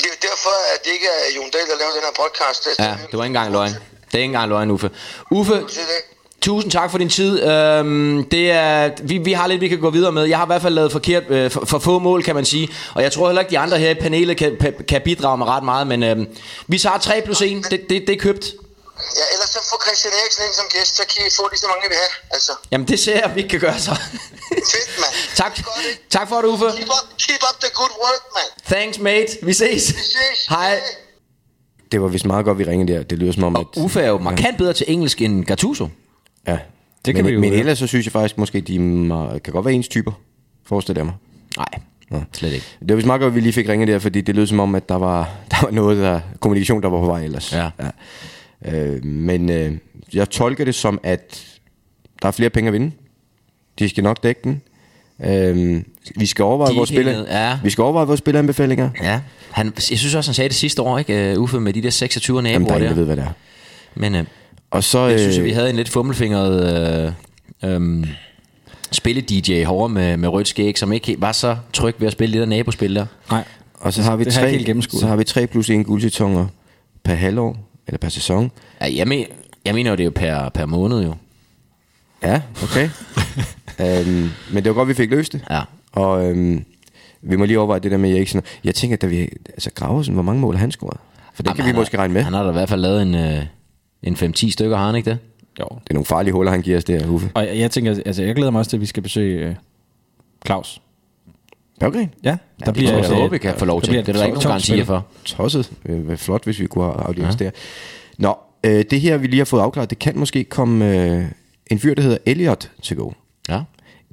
I: Det er jo derfor, at det ikke er Jon Dahl, der laver den her podcast.
C: Ja, det var ikke engang løgn. Det er ikke engang løgn, Uffe. Uffe,
I: Det er det.
C: tusind tak for din tid. Øhm, det er, vi, vi har lidt, vi kan gå videre med. Jeg har i hvert fald lavet forkert, øh, for, for få mål, kan man sige. Og jeg tror heller ikke, de andre her i panelet kan, pa, kan bidrage med ret meget, men øhm, vi tager 3 plus 1. Det, det, det er købt.
I: Ja, ellers så får Christian Eriksen ind som gæst, så kan I få lige så mange, I vil have. Altså,
C: Jamen det ser jeg, vi ikke kan gøre så.
I: fedt, mand.
C: tak,
I: Godt, ikke?
C: tak for det, Uffe.
I: Keep up, keep up the good work, mand.
C: Thanks, mate. Vi ses.
I: ses.
C: Hej.
B: Det var vist meget godt, vi ringede der. Det lyder som om, at...
C: Uffe er jo markant bedre til engelsk end Gattuso.
B: Ja.
D: Det
B: Det
D: kan
B: kan men,
D: vi jo
B: men
D: høre.
B: ellers så synes jeg faktisk, måske de er meget- kan godt være ens typer, forestiller jeg mig.
C: Nej, slet ikke.
B: Det var vist meget godt, at vi lige fik ringet der, fordi det lød som om, at der var, der var noget, der, kommunikation, der var på vej ellers.
C: Ja.
B: Øh, men øh, jeg tolker det som, at der er flere penge at vinde. De skal nok dække den. Øh, vi skal
C: De
B: overveje
C: er
B: vores
C: ikke helt
B: spiller,
C: nede, ja.
B: Vi skal overveje vores spilleranbefalinger.
C: Ja, han, jeg synes også, han sagde det sidste år, ikke? øh, Uffe, med de der 26
B: Jamen, der
C: naboer
B: er ingen, der ved,
C: der.
B: hvad det er.
C: Men øh,
B: Og så,
C: jeg synes, at
B: øh,
C: vi havde en lidt fummelfingret øh, øh, spille-DJ hårdere med, med rødt skæg, som ikke helt var så tryg ved at spille det der nabospil der.
D: Nej.
B: Og så har vi
D: Det har jeg ikke
B: tre,
D: helt gennemskuet.
B: så har vi tre plus en guldtitonger per halvår, eller per sæson.
C: Ja, jeg, men, jeg mener jo, det er jo per, per måned jo.
B: Ja, okay. øhm, men det var godt, vi fik løst det.
C: Ja.
B: Og øhm, vi må lige overveje det der med Eriksen. Jeg tænker, da vi... Altså, Graversen, hvor mange mål har han scoret? For det
C: Jamen,
B: kan vi
C: han
B: måske
C: har,
B: regne med.
C: Han har da i hvert fald lavet en, øh, en 5-10 stykker, har han ikke det?
D: Jo.
B: Det er nogle farlige huller, han giver os der, Uffe.
D: Og jeg, jeg tænker, altså jeg glæder mig også til, at vi skal besøge øh, Claus.
B: Okay.
D: Ja, der
C: Det tror jeg,
D: øh,
C: jeg håber, vi kan få lov
D: der
C: til.
D: bliver
C: Det er der ikke nogen
D: to-
C: garantier for.
B: Tosset. Øh, hvad flot, hvis vi kunne have audiens ja. der. Nå, øh, det her, vi lige har fået afklaret, det kan måske komme øh, en fyr, der hedder Elliot til gode.
C: Ja.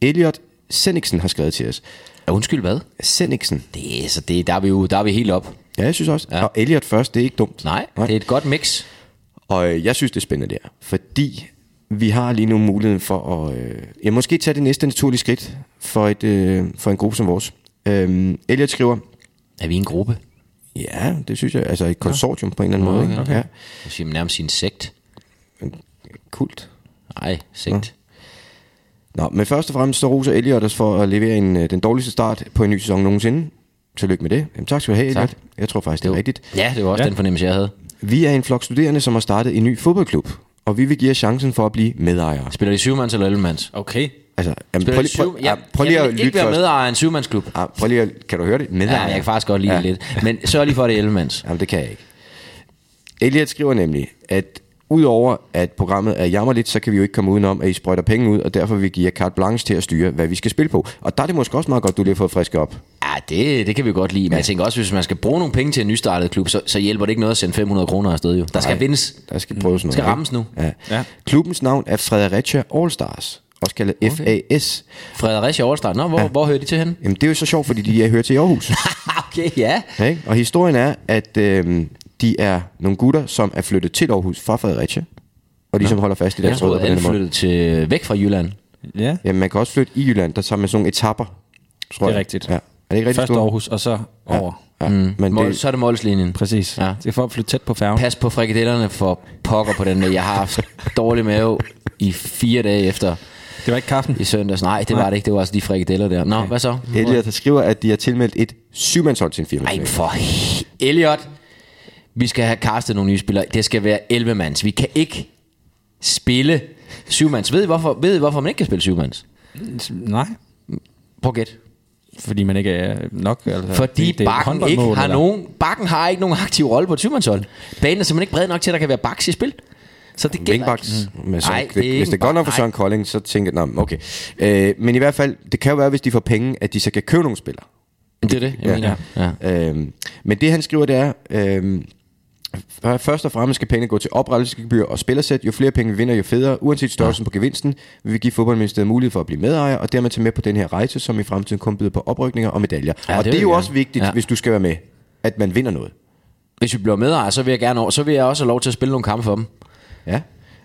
B: Elliot Senniksen har skrevet til os.
C: Ja, Undskyld, hvad?
B: Senniksen.
C: Det, er- så det, der, er vi jo, der er vi helt op.
B: Ja, jeg synes også.
C: Ja.
B: Ja. Og Elliot først, det er ikke dumt.
C: Nej, Nej, det er et godt mix.
B: Og øh, jeg synes, det er spændende der, fordi vi har lige nu muligheden for at øh, ja, måske tage det næste naturlige skridt for, et, øh, for en gruppe som vores. Øhm, Elliot skriver,
C: Er vi en gruppe?
B: ja, det synes jeg, altså et konsortium ja. på en eller anden måde. Ikke? Okay. Ja.
C: Jeg siger man nærmest sin sekt.
B: Kult.
C: Nej, sekt.
B: Nå, men først og fremmest så roser Elliot os for at levere en, øh, den dårligste start på en ny sæson nogensinde. Tillykke med det. Jamen, tak skal du have, Elliot.
C: Tak.
B: Jeg tror faktisk, det er rigtigt.
C: Ja, det var også ja.
D: Ja.
C: den fornemmelse, jeg havde.
B: Vi er en flok studerende, som har startet en ny fodboldklub, og vi vil give jer chancen for at blive medejere.
C: Spiller de syvmands eller ellemands?
D: Okay.
B: Altså, jamen,
C: Spiller
B: prøv,
C: de
B: lige- prøv,
C: syv...
B: ja,
C: Jeg,
B: prøv lige
C: jeg
B: at
C: vil ikke
B: lytte
C: være
B: først.
C: medejer af en syvmandsklub.
B: Ah, prøv lige at, kan du høre det? Med
C: Ja, jeg kan faktisk godt lide ja. lidt. Men sørg lige for, at det er ellemands.
B: Jamen, det kan jeg ikke. Elliot skriver nemlig, at udover at programmet er jammerligt, så kan vi jo ikke komme udenom, at I sprøjter penge ud, og derfor vil vi give jer carte blanche til at styre, hvad vi skal spille på. Og der er det måske også meget godt, du lige har fået frisket op.
C: Ja, det, det kan vi godt lide. Men jeg tænker også, hvis man skal bruge nogle penge til en nystartet klub, så, så hjælper det ikke noget at sende 500 kroner afsted jo. Der skal vindes.
B: Der skal prøves noget.
C: Mm. Skal
B: ikke?
C: rammes nu.
B: Ja.
D: Ja.
B: ja. Klubbens navn er Fredericia All Stars, også kaldet okay. FAS.
C: Fredericia Overstart. Nå, hvor, ja. hvor hører de til henne?
B: Jamen, det er jo så sjovt, fordi de er hørt til i Aarhus.
C: okay, ja.
B: Ja, Ikke? Og historien er, at øh, de er nogle gutter, som er flyttet til Aarhus fra Fredericia, og ligesom holder fast i
C: Jeg
B: deres rødder
C: troede,
B: på
C: alle
B: den her måde.
C: flyttede til, øh, væk fra Jylland.
D: Ja.
B: Jamen, man kan også flytte i Jylland, der tager man sådan nogle etapper, tror
D: Det er
B: jeg.
D: rigtigt.
B: Ja. det ikke rigtig
D: Først
B: stor?
D: Aarhus, og så over.
B: Ja, mm. men
C: Mål,
B: det,
C: så er det målslinjen.
D: Præcis.
C: Ja.
D: Ja. Det er for at flytte tæt på færgen.
C: Pas på frikadellerne for pokker på den der. Jeg har haft dårlig mave i fire dage efter
D: Det var ikke kaffen.
C: i søndags. Nej, det var det ikke. Det var også de frikadeller der. Nå, hvad så?
B: Elliot der skriver, at de har tilmeldt et syvmandshold til en firma.
C: Ej, for he- Elliot. Vi skal have castet nogle nye spillere. Det skal være 11 mands. Vi kan ikke spille syvmands. Ved I, hvorfor, ved I, hvorfor man ikke kan spille syvmands?
D: Nej,
C: Prøv at gætte.
D: fordi man ikke er nok. Altså,
C: Fordi
D: det- det er et
C: bakken ikke
D: håndboldmål,
C: har
D: eller?
C: nogen, bakken har ikke nogen aktiv rolle på et syvmandshold. Banen er simpelthen ikke bred nok til, at der kan være baks i spil. Så det gælder
B: Wingbacks.
C: ikke.
B: Mm. Søren, Nej,
C: Nej, det er ikke
B: hvis det
C: en
B: er godt nok for
C: bak-
B: Søren Kolding, så tænker jeg, "Nå, men okay. Øh, men i hvert fald, det kan jo være, hvis de får penge, at de så kan købe nogle spillere.
C: Det er det, jeg ja. mener. Ja.
B: Øhm, men det han skriver, det er, øhm, f- først og fremmest skal pengene gå til oprettelsesgebyr og spillersæt. Jo flere penge vi vinder, jo federe. Uanset størrelsen ja. på gevinsten, vil vi give fodboldministeriet mulighed for at blive medejer, og dermed tage med på den her rejse, som i fremtiden kun byder på oprykninger og medaljer. Ja,
C: Ja,
B: og det,
C: det
B: det er
C: vil
B: jo
C: jeg
B: også
C: gerne.
B: vigtigt, ja.
C: Ja.
B: hvis du skal være med, at man vinder noget.
C: Hvis vi bliver medejer, så vil jeg gerne over, så vil jeg også have lov til at spille nogle kampe for dem.
B: Ja.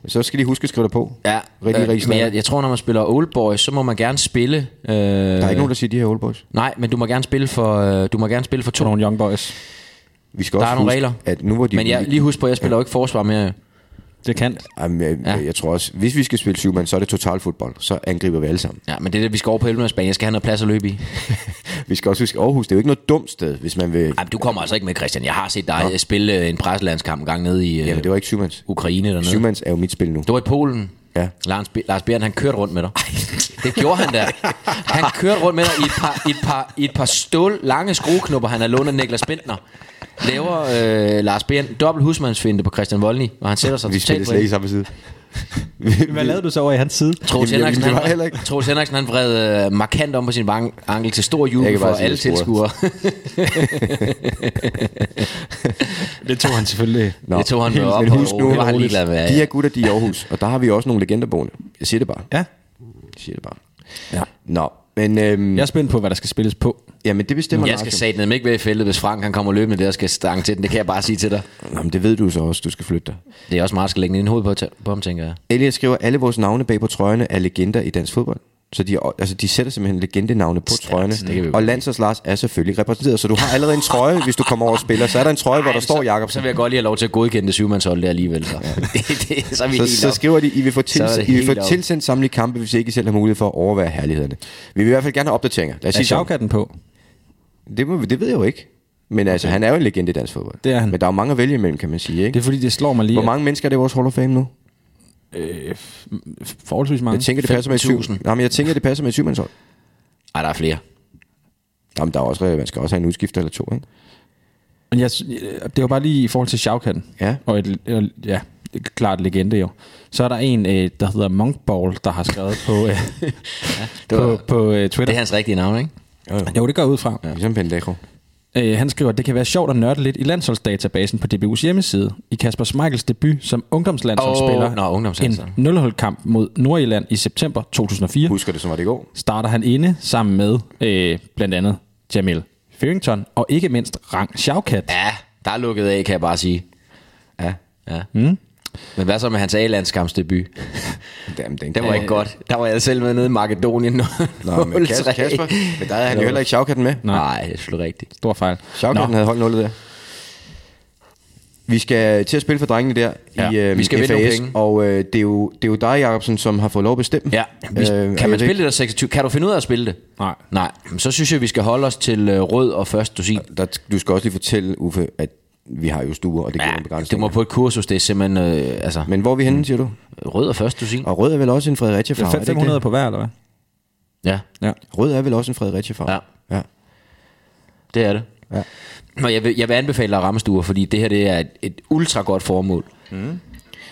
B: Så skal de huske at skrive dig på.
C: Ja,
B: Rigtig, øh, rigtig
C: men
B: jeg,
C: jeg, jeg tror, når man spiller Old Boys, så må man gerne spille... Øh,
B: Der er ikke nogen, der siger de her old boys.
C: Nej, men du må gerne spille for, øh, du må gerne spille for to.
D: For nogle young boys.
B: Vi skal
C: Der
B: også
C: er nogle
B: huske,
C: regler.
B: at nu hvor de...
C: Men jeg, lige husk på, at jeg spiller jo ikke forsvar mere. jo.
D: Det kan.
B: Jamen, jeg, ja.
C: Ja.
B: jeg tror også, hvis vi skal spille syvmand, så er det totalfodbold. Så angriber vi alle sammen.
C: Ja, men det er det, vi skal over på Elvemandsbanen. Jeg skal have noget plads at løbe i.
B: Vi skal også huske, Aarhus, det er jo ikke noget dumt sted, hvis man vil...
C: Ej, men du kommer altså ikke med, Christian. Jeg har set dig ja. spille øh, en preslandskamp engang nede i øh,
B: Jamen, det var ikke syvmands.
C: Ukraine dernede.
B: Syvmands er jo mit spil nu.
C: Det var i Polen.
B: Ja.
C: Lars, Be- Lars Bjørn, han kørte rundt med dig. Det gjorde han da. Han kørte rundt med dig i et par, i et par, i et par stål lange skrueknopper, han har lånt af Niklas Bentner. Laver øh, Lars Bjørn dobbelt husmandsfinde på Christian Voldny, og han sætter sig
B: Vi spiller
C: totalt på
B: slet ikke
C: det.
B: samme side.
D: Hvad lavede du så over i hans side?
C: Troels
B: Jamen,
C: Henriksen,
B: jamen, det var
C: han,
B: heller ikke.
C: Troels Henriksen, han vred øh, markant om på sin bank, ankel til stor
B: Jeg
C: jubel
B: kan
C: for
B: bare se,
C: alle
B: jeg
C: tilskuere.
B: scorer.
D: Det tog han selvfølgelig.
B: Nå,
C: Det tog han med op
B: men
C: og
B: husk nu,
C: det var han ligeglad med, ja.
B: de her gutter, de er i Aarhus, og der har vi også nogle legender boende. Jeg siger det bare.
D: Ja.
B: Jeg siger det bare. Ja. Nå, men øhm,
D: Jeg er spændt på, hvad der skal spilles på.
B: jamen, det bestemmer
C: Jeg skal satme ikke være i feltet, hvis Frank han kommer løbende der og skal stange til den. Det kan jeg bare sige til dig.
B: Jamen, det ved du så også, du skal flytte dig.
C: Det er også meget, at skal lægge den i en hoved på, på ham, tænker jeg.
B: Elliot skriver, alle vores navne bag på trøjerne er legender i dansk fodbold. Så de, altså, de sætter simpelthen legendenavne på Stærkt, trøjerne.
C: det kan vi jo
B: og Landsers Lars er selvfølgelig repræsenteret. Så du har allerede en trøje, hvis du kommer over og spiller. Så er der en trøje, hvor der
C: Ej,
B: står
C: så,
B: Jakob.
C: Så vil jeg godt lige have lov til at godkende det syvmandshold der alligevel. Så, det, det, så er vi
B: Så,
C: helt
B: så
C: op.
B: skriver de, I vil få,
C: Så er det
B: tilsendt, I vil
C: helt
B: få
C: op.
B: tilsendt samtlige kampe, hvis I ikke selv har mulighed for at overvære herlighederne. Vi vil i hvert fald gerne have opdateringer. Lad os
D: Er
C: Altså-
B: sige sådan.
D: Sjavkatten på?
B: det, må, vi- det ved jeg jo ikke. Men altså, han er jo en legende i dansk fodbold.
D: Det er han.
B: Men der er jo mange at vælge imellem, kan man sige.
D: Det
B: Ikke?
D: er fordi, det slår mig lige.
B: Hvor mange mennesker er det i vores Hall of Fame nu?
D: at- Forholdsvis mange.
B: Jeg tænker, det passer med et syv.
C: 15.000.
B: Jamen, jeg tænker, det passer med et syvmandshold.
C: Ej, der er flere.
B: Jamen, der er også, man skal også have en udskifter eller to, ikke?
D: Men jeg, sy- øh, det var bare lige i forhold til Sjavkatten.
B: Ja.
D: Og et, øh, ja, det er klart legende jo. Så er der en, øh, der hedder Monkball, der har skrevet på, øh,
C: Det, var,
D: på, på øh, Twitter.
C: det er hans rigtige navn, ikke?
D: Jo, det går jeg ud fra.
B: Ja. Ligesom Pendejo.
D: Øh, han skriver, at det kan være sjovt at nørde lidt i landsholdsdatabasen på DBU's hjemmeside. I Kasper Schmeichels debut som ungdomslandsholdsspiller
C: Åh, nå, ungdomslandshold.
D: en nulholdskamp mod Nordirland i september 2004
B: Husker det, som var det i går.
D: starter han inde sammen med øh, blandt andet Jamil Førington og ikke mindst Rang Sjavkat.
C: Ja, der er lukket af, kan jeg bare sige. Ja, ja. Mm. Men hvad så med hans A-landskampsdebut? Øh,
B: Jamen, den,
C: Det var ikke godt. Der var jeg selv med nede i Makedonien.
B: Nå, men Kasper, Kasper, men der havde han jo heller ikke sjavkatten med.
C: Nej, det er selvfølgelig rigtigt.
D: Stor fejl.
B: Sjavkatten havde holdt nullet der. Vi skal til at spille for drengene der ja,
C: Ja,
B: i øh,
C: vi skal
B: FAS,
C: vinde nogle penge.
B: og øh, det, er jo, det er jo dig, Jacobsen, som har fået lov at bestemme.
C: Ja, vi,
B: Øh, jeg
C: øh, kan
B: ved
C: man spille
B: ikke,
C: det der 26? Kan du finde ud af at spille det?
D: Nej.
C: Nej, men så synes jeg, vi skal holde os til øh, rød og først dusin.
B: Der, du skal også lige fortælle, Uffe, at vi har jo stuer, og det giver ja, en
C: Ja, du
B: begrænsning.
C: må på et kursus, det er simpelthen, øh, altså,
B: Men hvor er vi henne, siger du?
C: rød og først dusin.
B: Og rød er vel også en Fredericia-farve? er det ikke det?
D: 500 på hver, eller hvad?
C: Ja,
D: Ja.
B: Rød er vel også en Fredericia-farve?
C: Ja.
B: ja.
C: det er det.
B: Ja.
C: Nå, jeg vil, jeg vil anbefale dig rammestuer, fordi det her det er et, et ultra godt formål.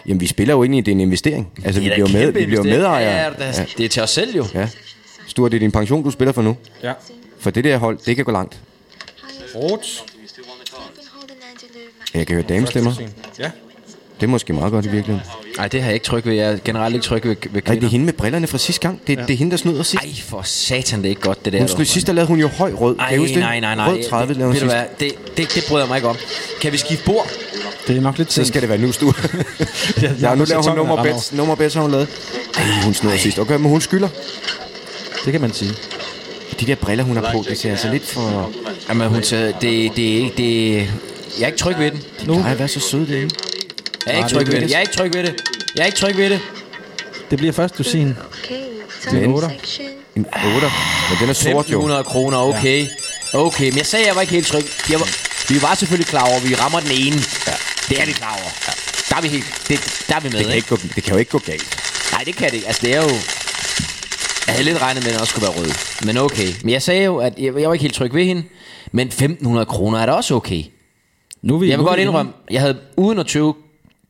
B: Jamen, vi spiller jo egentlig, det er en investering. Altså, vi
C: Det er da
B: bliver,
C: en
B: med,
C: kæmpe
B: vi bliver
C: investering.
B: medejere.
C: Ja, det, er, det er til os selv jo.
B: Ja. Stur, det er din pension, du spiller for nu.
D: Ja.
B: For det der hold, det kan gå langt. Jeg kan høre damestemmer.
D: Ja.
B: Det er måske meget godt i virkeligheden.
C: Nej, det har jeg ikke tryk ved. Jeg er generelt ikke tryg ved, ved
B: Nej, det er
C: kvinder.
B: hende med brillerne fra sidste gang. Det, ja. det er hende, der snyder sidst.
C: Ej, for satan, det er ikke godt, det der.
B: Hun
C: dog.
B: snød, sidst der lavede hun jo høj rød. kan
C: Ej,
B: I huske det?
C: nej, nej, nej.
B: Rød 30 lavede hun
C: det, ved
B: sidst.
C: du hvad, det, det, det bryder jeg mig ikke om. Kan vi skifte bord?
D: Det er nok lidt
B: Så
D: sent.
B: skal det være nu, Stur. ja, nu laver hun nummer bets. Nummer bets har hun lavet. Ej, hun snød sidst. Okay, men hun skylder.
D: Det kan man sige.
B: De der briller, hun har på, det ser altså lidt for...
C: Jamen, hun siger, det, det er ikke... Det, jeg er ikke tryg ved den. Nu.
B: Nej, hvad så sød det er.
C: Jeg er ikke tryg ved det. Jeg er ikke tryg ved det. Jeg er ikke tryg ved det.
D: Det bliver først dusin.
B: Det er otter. En 8. Men den er sort jo.
C: 1500 kroner, okay. Okay, men jeg sagde, at jeg var ikke helt tryg. Jeg var, vi var selvfølgelig klar over, at vi rammer den ene. Ja. Det er vi klar over. Ja. Der er vi helt... Det, der er vi med,
B: Det kan, ikke
C: ikke?
B: gå, det kan jo ikke gå galt.
C: Nej, det kan det ikke. Altså, det er jo... Jeg havde lidt regnet med, at den også skulle være rød. Men okay. Men jeg sagde jo, at jeg, jeg var ikke helt tryg ved hende. Men 1500 kroner er da også okay.
D: Nu er vi,
C: Jeg vil
D: nu er
C: godt
D: vi-
C: indrømme, jeg havde uden at tøve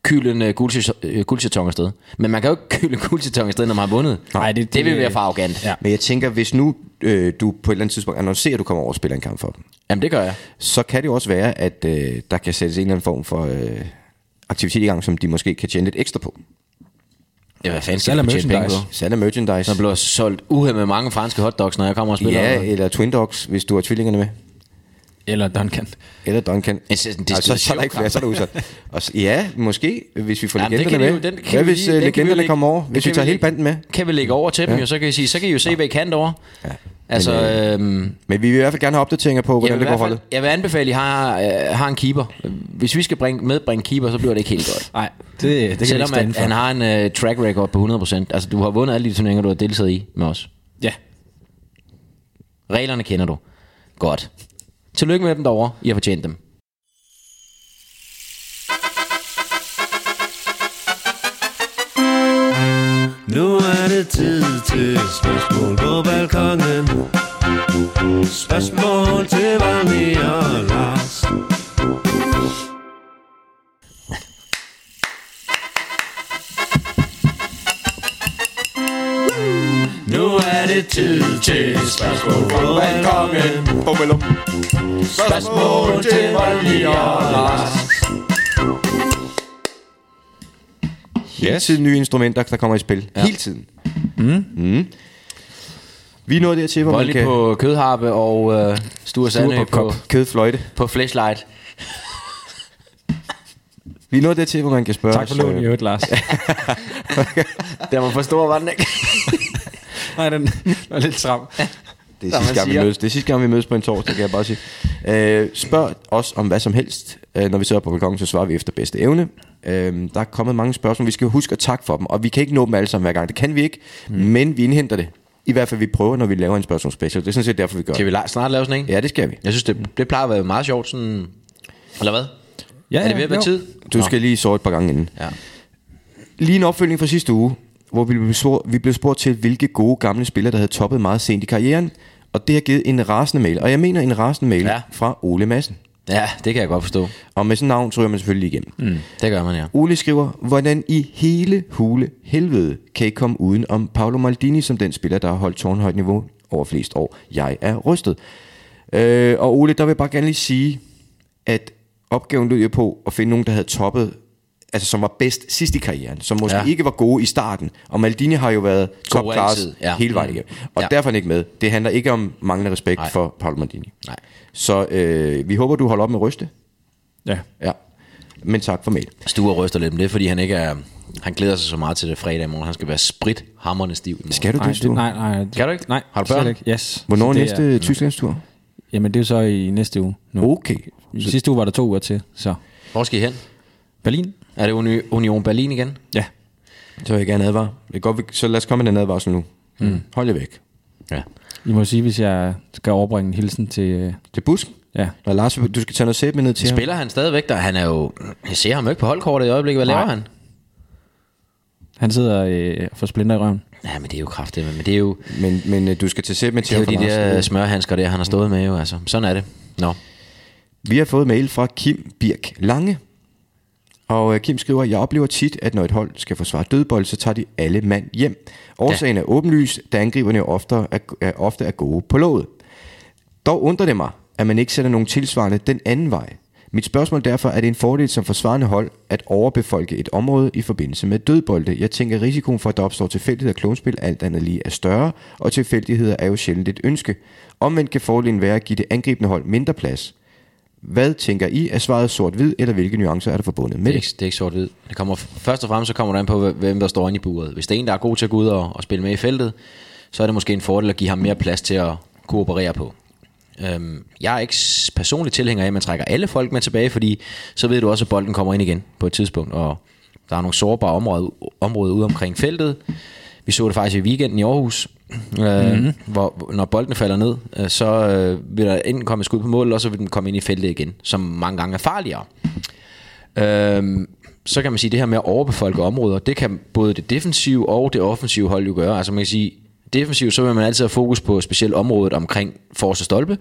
C: kylde en øh, guldse- øh, guldseton afsted. Men man kan jo ikke kylde en guldseton afsted, når man har vundet.
D: Nej, det-
C: det vil
D: det-
C: være for arrogant.
D: Ja.
B: Men jeg tænker, hvis nu øh, du på et eller andet tidspunkt annoncerer, at du kommer over og spiller en kamp for dem,
C: Jamen, det gør jeg.
B: så kan det jo også være, at øh, der kan sættes en eller anden form for øh, aktivitet i gang, som de måske kan tjene lidt ekstra på.
C: Ja, hvad fanden
D: Salg
C: skal
D: af
C: jeg tjene penge på?
D: merchandise.
B: Salg af merchandise.
C: Der bliver solgt uhemmet med mange franske hotdogs, når jeg kommer og spiller.
B: Ja, eller Twin Dogs, hvis du har tvillingerne med.
D: Eller Duncan.
B: Eller Duncan.
C: Jeg synes, det er
B: Ej, så,
C: sgu
B: så er der ikke flere, så er der udsat. Og, s- ja, måske, hvis vi får
C: Jamen, det kan
B: legenderne
C: de
B: med.
C: jo- den kan
B: Hvad
C: vi
B: hvis
C: lige-
B: øh,
C: den kan vi
B: legenderne
C: lægge-
B: kommer over?
C: den
B: Hvis
C: kan
B: vi
C: vi
B: tager hele
C: lægge-
B: banden med?
C: kan vi lægge over til dem, jo, så kan I sige, så kan I jo se, hvad I kan derovre. Ja. Altså, øh,
B: Men vi vil i hvert fald gerne have opdateringer på,
C: jeg,
B: hvordan
C: vil i
B: det går
C: hvert fald,
B: holdet.
C: jeg vil anbefale, at I har, øh, har en keeper. Hvis vi skal bringe, medbringe keeper, så bliver det ikke helt godt.
D: Nej, det, det kan jeg ikke
C: Selvom
D: stå
C: at
D: indenfor.
C: han har en øh, track record på 100%. Altså, du har vundet alle de turneringer, du har deltaget i med os.
D: Ja.
C: Reglerne kender du. Godt. Tillykke med dem derovre. I har fortjent dem.
G: Nu er det tid til spørgsmål på balkongen. Spørgsmål til Valmi og Lars. Nu er det tid til spørgsmål på balkongen. Spørgsmål til Valmi og Lars.
B: Hele tiden nye instrumenter, der kommer i spil. Hele tiden. Mm. Mm. Vi er nået dertil, hvor man
C: Volley
B: kan...
C: på kødharpe og øh, Sture Sandø
B: Kop-
C: på,
B: Kædefløjte.
C: på flashlight.
B: Vi er nået dertil, hvor man kan spørge
D: Tak for
B: os, øh,
D: lånet i øvrigt, Lars.
C: Den var for stor, var den ikke?
D: Nej, den var lidt stram.
B: Det
C: Som
B: er, sidste
C: man
B: gang, vi
C: siger.
B: mødes. det er sidste gang, vi mødes på en torsdag, kan jeg bare sige. Øh, spørg os om hvad som helst. Øh, når vi sidder på balkongen, så svarer vi efter bedste evne. Øh, der er kommet mange spørgsmål. Vi skal huske at takke for dem, og vi kan ikke nå dem alle sammen hver gang. Det kan vi ikke, mm. men vi indhenter det. I hvert fald, vi prøver, når vi laver en spørgsmålspecial. Det er sådan set derfor, vi gør
C: Skal
B: det.
C: vi la- snart lave sådan en?
B: Ja, det skal vi.
C: Jeg synes, det, det plejer at være meget sjovt, sådan... Eller hvad?
D: Ja,
C: er det ved
D: ja,
C: at være
D: jo.
C: tid?
B: Du skal lige sove et par gange inden.
C: Ja.
B: Lige en opfølging fra sidste uge, hvor vi blev, spurgt, vi blev spurgt til, hvilke gode gamle spillere, der havde toppet meget sent i karrieren. Og det har givet en rasende mail. Og jeg mener en rasende mail
C: Ja.
B: ja. fra Ole Madsen.
C: Ja, det kan jeg godt forstå.
B: Og med sådan et navn, så ryger man selvfølgelig igennem. Mm.
C: Det gør man, ja.
B: Ole skriver, hvordan i hele hule helvede kan I komme uden om Paolo Maldini som den spiller, der har holdt tårnhøjt niveau over flest år. Jeg er rystet. Øh, og Ole, der vil jeg bare gerne lige sige, at opgaven lød jo på at finde nogen, der havde toppet, altså som var bedst sidst i karrieren, som måske
C: Ja.
B: ja. ikke var gode i starten. Og Maldini har jo været top class
C: altid, ja.
B: ja. hele vejen
C: Mm.
B: igennem. Og
C: Ja.
B: ja. derfor er han ikke med. Det handler ikke om manglende respekt
C: Nej.
B: Nej. for Paolo Maldini.
C: Nej.
B: Så øh, vi håber, du holder op med at ryste.
D: Ja.
B: Ja. Men tak for mail.
C: Sture ryster lidt, men det er, fordi han ikke er... Han glæder sig så meget til det fredag morgen. Han skal være sprit hammerne stiv i morgen.
B: Skal du
D: Nej,
B: det,
D: det,
B: Stu?
D: nej, nej. Det,
C: Kan du ikke?
D: Nej.
C: Har du
D: slet
C: børn?
D: ikke. Yes.
B: Hvornår
D: Så det
B: næste
D: Er,
B: er... Tysklandstur?
D: jamen, det er jo så i næste uge. Nu.
B: Okay.
D: Sidste uge var der to uger til, så...
C: Hvor skal I hen?
D: Berlin?
C: Er det Uni- Union Berlin igen?
D: Ja.
B: Så vil jeg gerne advare. Det er godt, vi- så lad os komme med den advarsel nu. Mm. Hold jer væk.
C: Ja.
D: I må sige, hvis jeg skal overbringe en hilsen til... øh,
B: Til busken.
D: Ja.
B: Når Lars, du skal tage noget sæbe med ned til
C: Spiller han stadigvæk der? Han er jo... Jeg ser ham jo ikke på holdkortet i øjeblikket. Hvad
D: Nej.
C: laver han?
D: Han sidder øh, og får splinter i røven.
C: Ja, men det er jo kraftigt, men det er jo,
B: ham. Men, men øh, du skal tage sæbe med
C: det
B: til
C: er
B: ham
C: jo
B: fra
C: de
B: Lars.
C: der smørhandsker der, han har stået med jo. Altså. Sådan er det. Nå.
B: Vi har fået mail fra Kim Birk Lange. Og øh, Kim skriver, jeg oplever tit, at når et hold skal forsvare dødbold, så tager de alle mand hjem. Årsagen ja. er åbenlys, da angriberne jo ofte er, er, ofte er gode på låget. Dog undrer det mig, at man ikke sætter nogen tilsvarende den anden vej. Mit spørgsmål derfor, er det en fordel som forsvarende hold at overbefolke et område i forbindelse med dødbolde? Jeg tænker, at risikoen for, at der opstår tilfældighed og klonspil alt andet lige er større, og tilfældigheder er jo sjældent et ønske. Omvendt kan fordelen være at give det angribende hold mindre plads. Hvad tænker I? Er svaret sort-hvid, eller hvilke nuancer er der forbundet med
C: Det er
B: det?
C: ikke, det er ikke sort-hvid. Det kommer, først og fremmest så kommer det an på, hvem der står inde i buret. Hvis det er en, der er god til at gå ud og, og spille med i feltet, så er det måske en fordel at give ham mere plads til at, kunne operere på. Øhm, jeg er ikke s- personligt tilhænger af, at man trækker alle folk med tilbage, fordi så ved du også, at bolden kommer ind igen på et tidspunkt, og der er nogle sårbare områder, områder ude omkring feltet. Vi så det faktisk i weekenden i Aarhus, øh,
B: Mhm.
C: mm-hmm. hvor hvor- når bolden falder ned, øh, så øh, vil der enten komme et skud på mål, og så vil den komme ind i feltet igen, som mange gange er farligere. Øhm, så kan man sige, at det her med at overbefolke områder, det kan både det defensive og det offensive hold jo gøre. Altså man kan sige, defensivt, så vil man altid have fokus på specielt området omkring force og stolpe,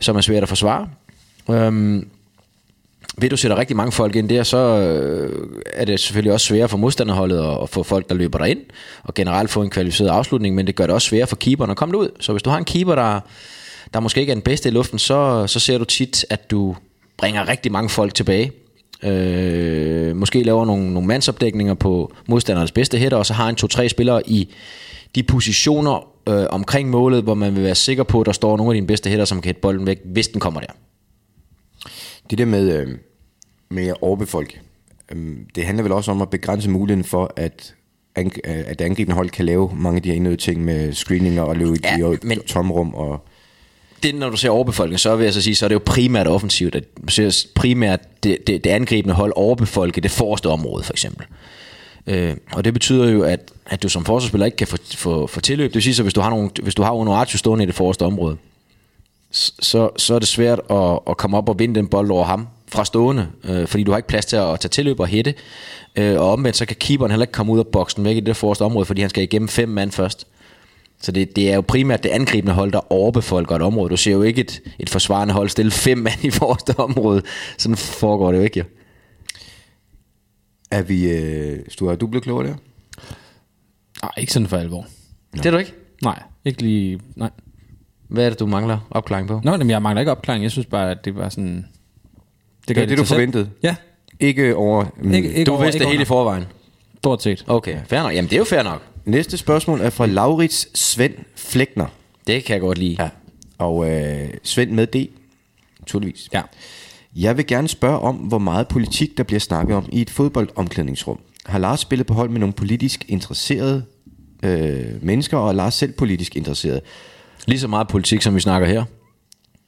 C: som er svært at forsvare. Øhm, ved du sætter rigtig mange folk ind der, så øh, er det selvfølgelig også sværere for modstanderholdet at, at få folk, der løber ind og generelt få en kvalificeret afslutning, men det gør det også sværere for keeperen at komme derud. Så hvis du har en keeper, der, der måske ikke er den bedste i luften, så, så ser du tit, at du bringer rigtig mange folk tilbage. Øh, måske laver nogle, nogle mandsopdækninger på modstanderens bedste hætter, og så har en to-tre spillere i de positioner øh, omkring målet, hvor man vil være sikker på, at der står nogle af dine bedste hætter, som kan hætte bolden væk, hvis den kommer der.
B: Det der med, øh, med at overbefolke, øh, det handler vel også om at begrænse muligheden for, at, ang- øh, at det angribende hold kan lave mange af de her indøde ting med screeninger og løbe ja, i
C: Ja,
B: de
C: men-
B: men... tomrum. Og,
C: det, når du ser overbefolkning, så vil jeg så sige, så er det jo primært offensivt, at du ser primært det, det, det angribende hold overbefolke det forreste område, for eksempel. Øh, og det betyder jo, at, at du som forsvarsspiller ikke kan få, få, få tilløb. Det vil sige, så hvis du har, nogle, hvis du har Onoratio stående i det forreste område, s- så, så er det svært at, at komme op og vinde den bold over ham fra stående, øh, fordi du har ikke plads til at tage tilløb og hætte. Øh, og omvendt, så kan keeperen heller ikke komme ud af boksen væk i det forreste område, fordi han skal igennem fem mand først. Så det, det er jo primært det angribende hold, der overbefolker et område. Du ser jo ikke et, et forsvarende hold stille fem mand i forreste område. Sådan foregår det jo ikke, jo.
B: er vi, øh, Sture, er du blevet klogere der?
D: Nej, ikke sådan for alvor.
C: Det er du ikke.
D: Nej, ikke lige... Nej.
C: Hvad er det, du mangler opklaring på?
D: Nå, jamen, jeg mangler ikke opklaring. Jeg synes bare, at det var sådan...
B: Det var det, du
D: sig selv.
B: forventede.
D: Ja,
B: Ikke over... Mm.
D: Ikke- ikke-
C: Du vidste
D: ikke
C: det hele i forvejen.
D: stort set.
C: Okay, fair nok. Jamen, det er jo fair nok.
B: Næste spørgsmål er fra Laurits Svend Flækner.
C: Det kan jeg godt lide. Ja.
B: Og øh, Svend med D, naturligvis.
D: Ja.
B: Jeg vil gerne spørge om, hvor meget politik, der bliver snakket om i et fodboldomklædningsrum. Har Lars spillet på hold med nogle politisk interesserede øh, mennesker, og er Lars selv politisk interesseret?
C: Lige så meget politik, som vi snakker her.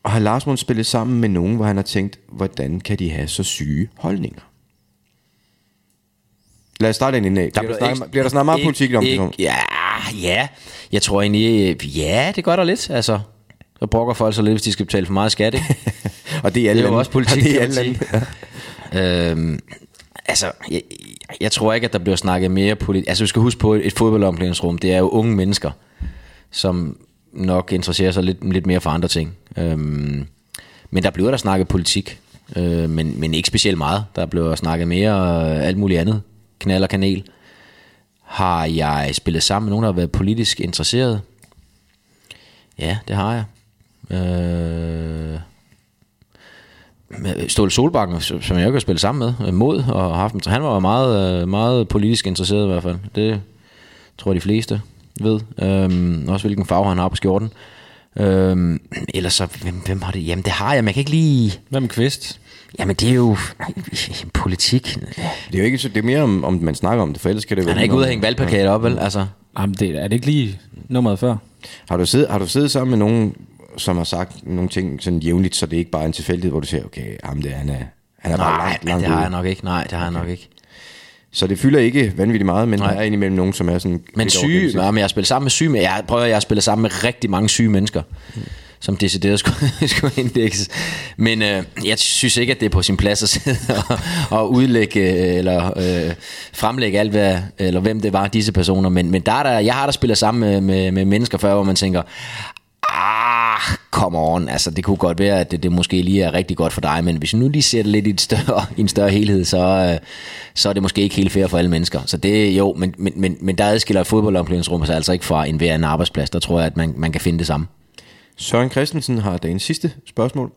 B: Og har Lars måske spillet sammen med nogen, hvor han har tænkt, hvordan kan de have så syge holdninger? Lad os starte den indad. Bliver, der snakket- bliver der snart meget
C: ikke-
B: politik om det?
C: ikke- Ja, ja. Jeg tror egentlig, øh, ja, det gør der lidt. Altså, så brokker folk så lidt, hvis de skal betale for meget skat, ikke?
B: Og det er alle
C: det er jo
B: lande.
C: også politik,
B: Og det er
C: kan man
B: alle lande.
C: sige. øhm, altså, jeg, jeg tror ikke, at der bliver snakket mere politik. Altså, vi skal huske på, et fodboldomklædningsrum, det er jo unge mennesker, som nok interesserer sig lidt, lidt mere for andre ting. Øhm, men der bliver der snakket politik, øh, men, men ikke specielt meget. Der bliver snakket mere øh, alt muligt andet. Knald og kanel. Har jeg spillet sammen med nogen, der har været politisk interesseret? Ja, det har jeg. Øh, med Ståle Solbakken, som som jeg jo kan spille sammen med, øh, mod og har haft. en- Han var jo meget, øh, meget politisk interesseret i hvert fald. Det tror jeg, de fleste ved. Øhm, også hvilken farve han har på skjorten. Øhm, ellers så, hvem, hvem har det? Jamen det har jeg, men jeg kan ikke lige...
D: Hvem kvist?
C: Jamen det er jo politik.
B: Det er jo ikke så, det er mere om, om man snakker om det, for ellers kan det være...
C: Han er ikke ude at hænge valgplakater op, vel? Altså,
D: Jamen, det, er det ikke lige nummeret før?
B: Har du, siddet, har du siddet sammen med nogen, som har sagt nogle ting sådan jævnligt, så det er ikke bare en tilfældighed, hvor du siger, okay, ham der, han er, han er bare
C: nej,
B: langt,
C: men
B: langt
C: det har
B: ude.
C: jeg nok ikke. Nej, det har jeg nok ikke.
B: Så det fylder ikke vanvittigt meget, men
C: Nej.
B: Nej. der er indimellem nogen, som er sådan...
C: Men
B: lidt
C: syge,
B: overgennemsigtige.
C: nej, men jeg har spillet sammen med syge, men jeg prøver, jeg har spillet sammen med rigtig mange syge mennesker, som decideret skulle, skulle indlægges. Men øh, jeg synes ikke, at det er på sin plads at sidde og, og udlægge, øh, eller øh, fremlægge alt, hvad, eller hvem det var, disse personer. Men, men der er der, jeg har der spillet sammen med, med, med mennesker før, hvor man tænker, ah, come on, altså det kunne godt være, at det, det måske lige er rigtig godt for dig, men hvis vi nu lige ser det lidt i, et større, i en større helhed, så, øh, så er det måske ikke helt fair for alle mennesker. Så det jo, men, men, men, men der adskiller et fodboldomklædningsrum sig altså ikke fra en hver anden arbejdsplads, der tror jeg, at man, man kan finde det samme.
B: Søren Christensen har dagens sidste spørgsmål.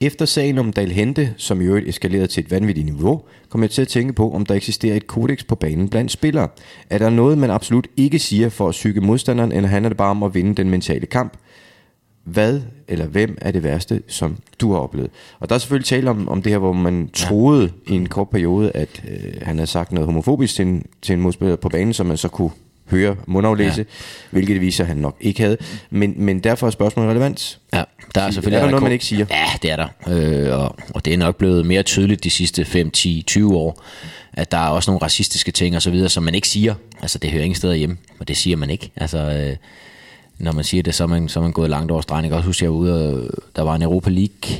B: Efter sagen om Dal Hente, som i øvrigt eskalerede til et vanvittigt niveau, kom jeg til at tænke på, om der eksisterer et kodex på banen blandt spillere. Er der noget, man absolut ikke siger for at psyke modstanderen, eller handler det bare om at vinde den mentale kamp? Hvad eller hvem er det værste, som du har oplevet? Og der er selvfølgelig tale om, om det her, hvor man troede i en kort periode, at øh, han havde sagt noget homofobisk til en, til en modspiller på banen, som man så kunne høre mundaflæse, ja. hvilket det viser, at han nok ikke havde. Men, men derfor er spørgsmålet relevant.
C: Ja, der er selvfølgelig
B: Er der noget,
C: rekord-
B: man ikke siger?
C: Ja, det er der. Øh, og, og det er nok blevet mere tydeligt de sidste 5, 10, 20 år, at der er også nogle racistiske ting og så videre, som man ikke siger. Altså, det hører ingen steder hjemme, og det siger man ikke. Altså, øh, når man siger det, så er man, så er man gået langt over stregen. Jeg kan også huske, at jeg var ude, og, der var en Europa League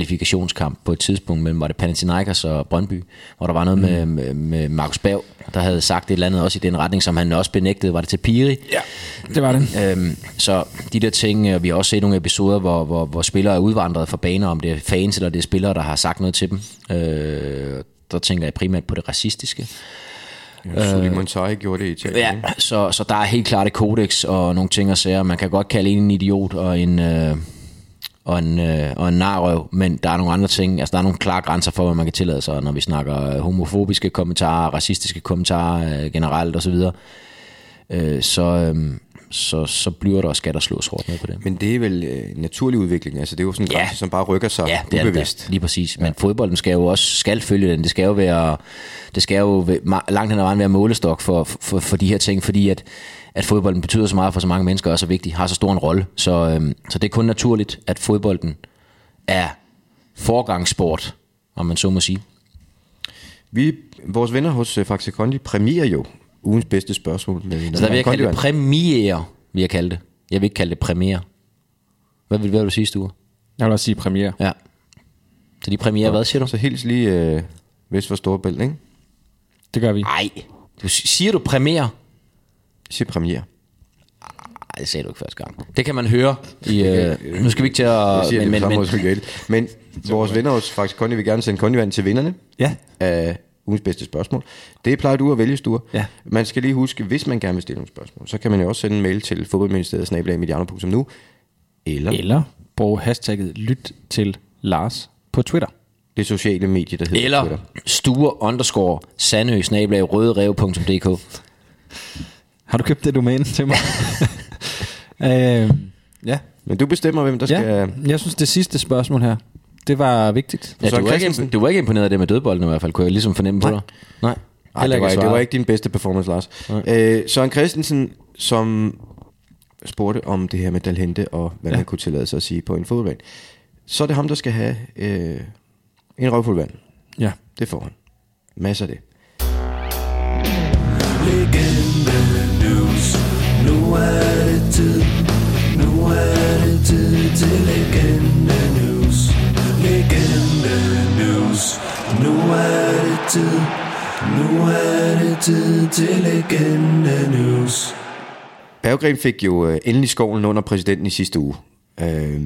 C: kvalifikationskamp på et tidspunkt mellem, var det Panathinaikos og Brøndby, hvor der var noget mm. med, med, med Markus Bav, der havde sagt et eller andet også i den retning, som han også benægtede. Var det til Piri? Ja.
D: Det var det.
C: Øhm, så de der ting, øh, vi har også set nogle episoder, hvor, hvor, hvor spillere er udvandret fra baner, om det er fans eller det er spillere, der har sagt noget til dem. Øh, der tænker jeg primært på det racistiske.
B: Ja, Suleiman Sarri gjorde det i Italien.
C: Ja,
B: ikke?
C: så, så der er helt klart et kodex og nogle ting og sager. Man kan godt kalde en en idiot og en, øh, og en, øh, og en narrøv, men der er nogle andre ting. Altså, der er nogle klare grænser for, hvad man kan tillade sig, når vi snakker øh, homofobiske kommentarer, racistiske kommentarer øh, generelt osv. Øh, så, øh, så, så bliver der også skat og slås hårdt ned på det.
B: Men det er vel øh, en naturlig udvikling. Altså, det er jo sådan en
C: Ja.
B: grænse, som bare rykker sig
C: Ja, det er det
B: ubevidst.
C: da. lige præcis. Men fodbolden skal jo også skal følge den. Det skal jo være det skal jo væ- ma- langt hen ad vejen være målestok for, for, for de her ting, fordi at, at fodbolden betyder så meget for så mange mennesker og er så vigtig, har så stor en rolle. Så, øhm, så det er kun naturligt, at fodbolden er forgangssport, om man så må sige.
B: Vi, vores venner hos øh, Faxe Kondi præmierer jo ugens bedste spørgsmål. Med
C: Så der vil jeg kalde det
B: Kondi-vand.
C: premiere, vil jeg kalde det. Jeg vil ikke kalde det premiere. Hvad vil, hvad vil du sige, Sture?
D: Jeg vil også sige premiere.
C: Ja. Så de premiere, hvad siger du?
B: Så hils lige øh, vest for Storebælt, ikke?
D: Det gør vi.
C: Nej. Du, siger du premiere?
B: Sig premiere.
C: Nej, det sagde du ikke første gang. Det kan man høre. I, øh, nu skal vi ikke til at...
B: Jeg siger men,
C: men,
B: det på
C: men,
B: samme måde
C: men,
B: som Gale. Men vores venner hos Faxe Kondi vil gerne sende Kondivand til vinderne.
D: Ja.
B: Af ugens bedste spørgsmål. Det plejer du at vælge, Sture.
D: Ja.
B: Man skal lige huske, hvis man gerne vil stille nogle spørgsmål, så kan man jo også sende en mail til fodboldministeriet snabelagmediano.nu eller, eller
D: Eller brug hashtagget lyt til Lars på Twitter.
B: det sociale medie, der hedder
C: eller
B: Twitter.
C: stuer underscore sandø snablag røderev.dk
D: Har du købt det domæne til mig? øh, ja.
B: Men du bestemmer, hvem der
D: ja.
B: skal...
D: Jeg synes, det sidste spørgsmål her, det var vigtigt.
C: ja,
B: Søren
C: du, var ikke,
B: Christensen.
C: imp- du var ikke imponeret af det med dødbolden i hvert fald, kunne jeg ligesom fornemme på dig. Nej.
B: Ej, det, var,
C: ikke
B: ikke, det var
C: svaret.
B: ikke din bedste performance, Lars. Øh, Søren Christensen, som spurgte om det her med Dalhente, og hvad ja. man kunne tillade sig at sige på en fodboldbane. Så er det ham, der skal have øh, en røvfuld vand.
D: Ja.
B: Det får han. Masser af det. Berggren fik jo øh, endelig skoven under præsidenten i sidste uge. Øh,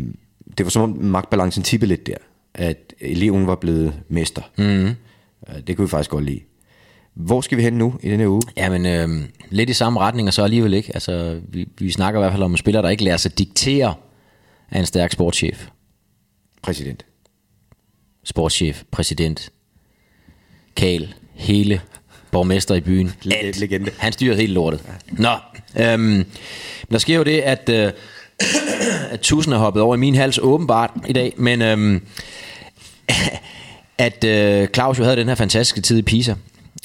B: det var som om magtbalancen tippede lidt der, at eleven var blevet mester. Mm. Øh, det kunne vi faktisk godt lide. Hvor skal vi hen nu i denne uge?
C: Jamen, øh, lidt i samme retning, og så alligevel ikke. Altså, vi, vi snakker i hvert fald om en spiller, der ikke lader sig diktere af en stærk sportschef.
B: Præsident.
C: Sportschef, præsident, Karl, hele borgmester i byen.
B: Legende,
C: Alt.
B: legende.
C: Han styrede helt lortet. Nå, øhm, der sker jo det, at, øh, at tusind er hoppet over i min hals åbenbart i dag, men øhm, at øh, Claus jo havde den her fantastiske tid i Pisa,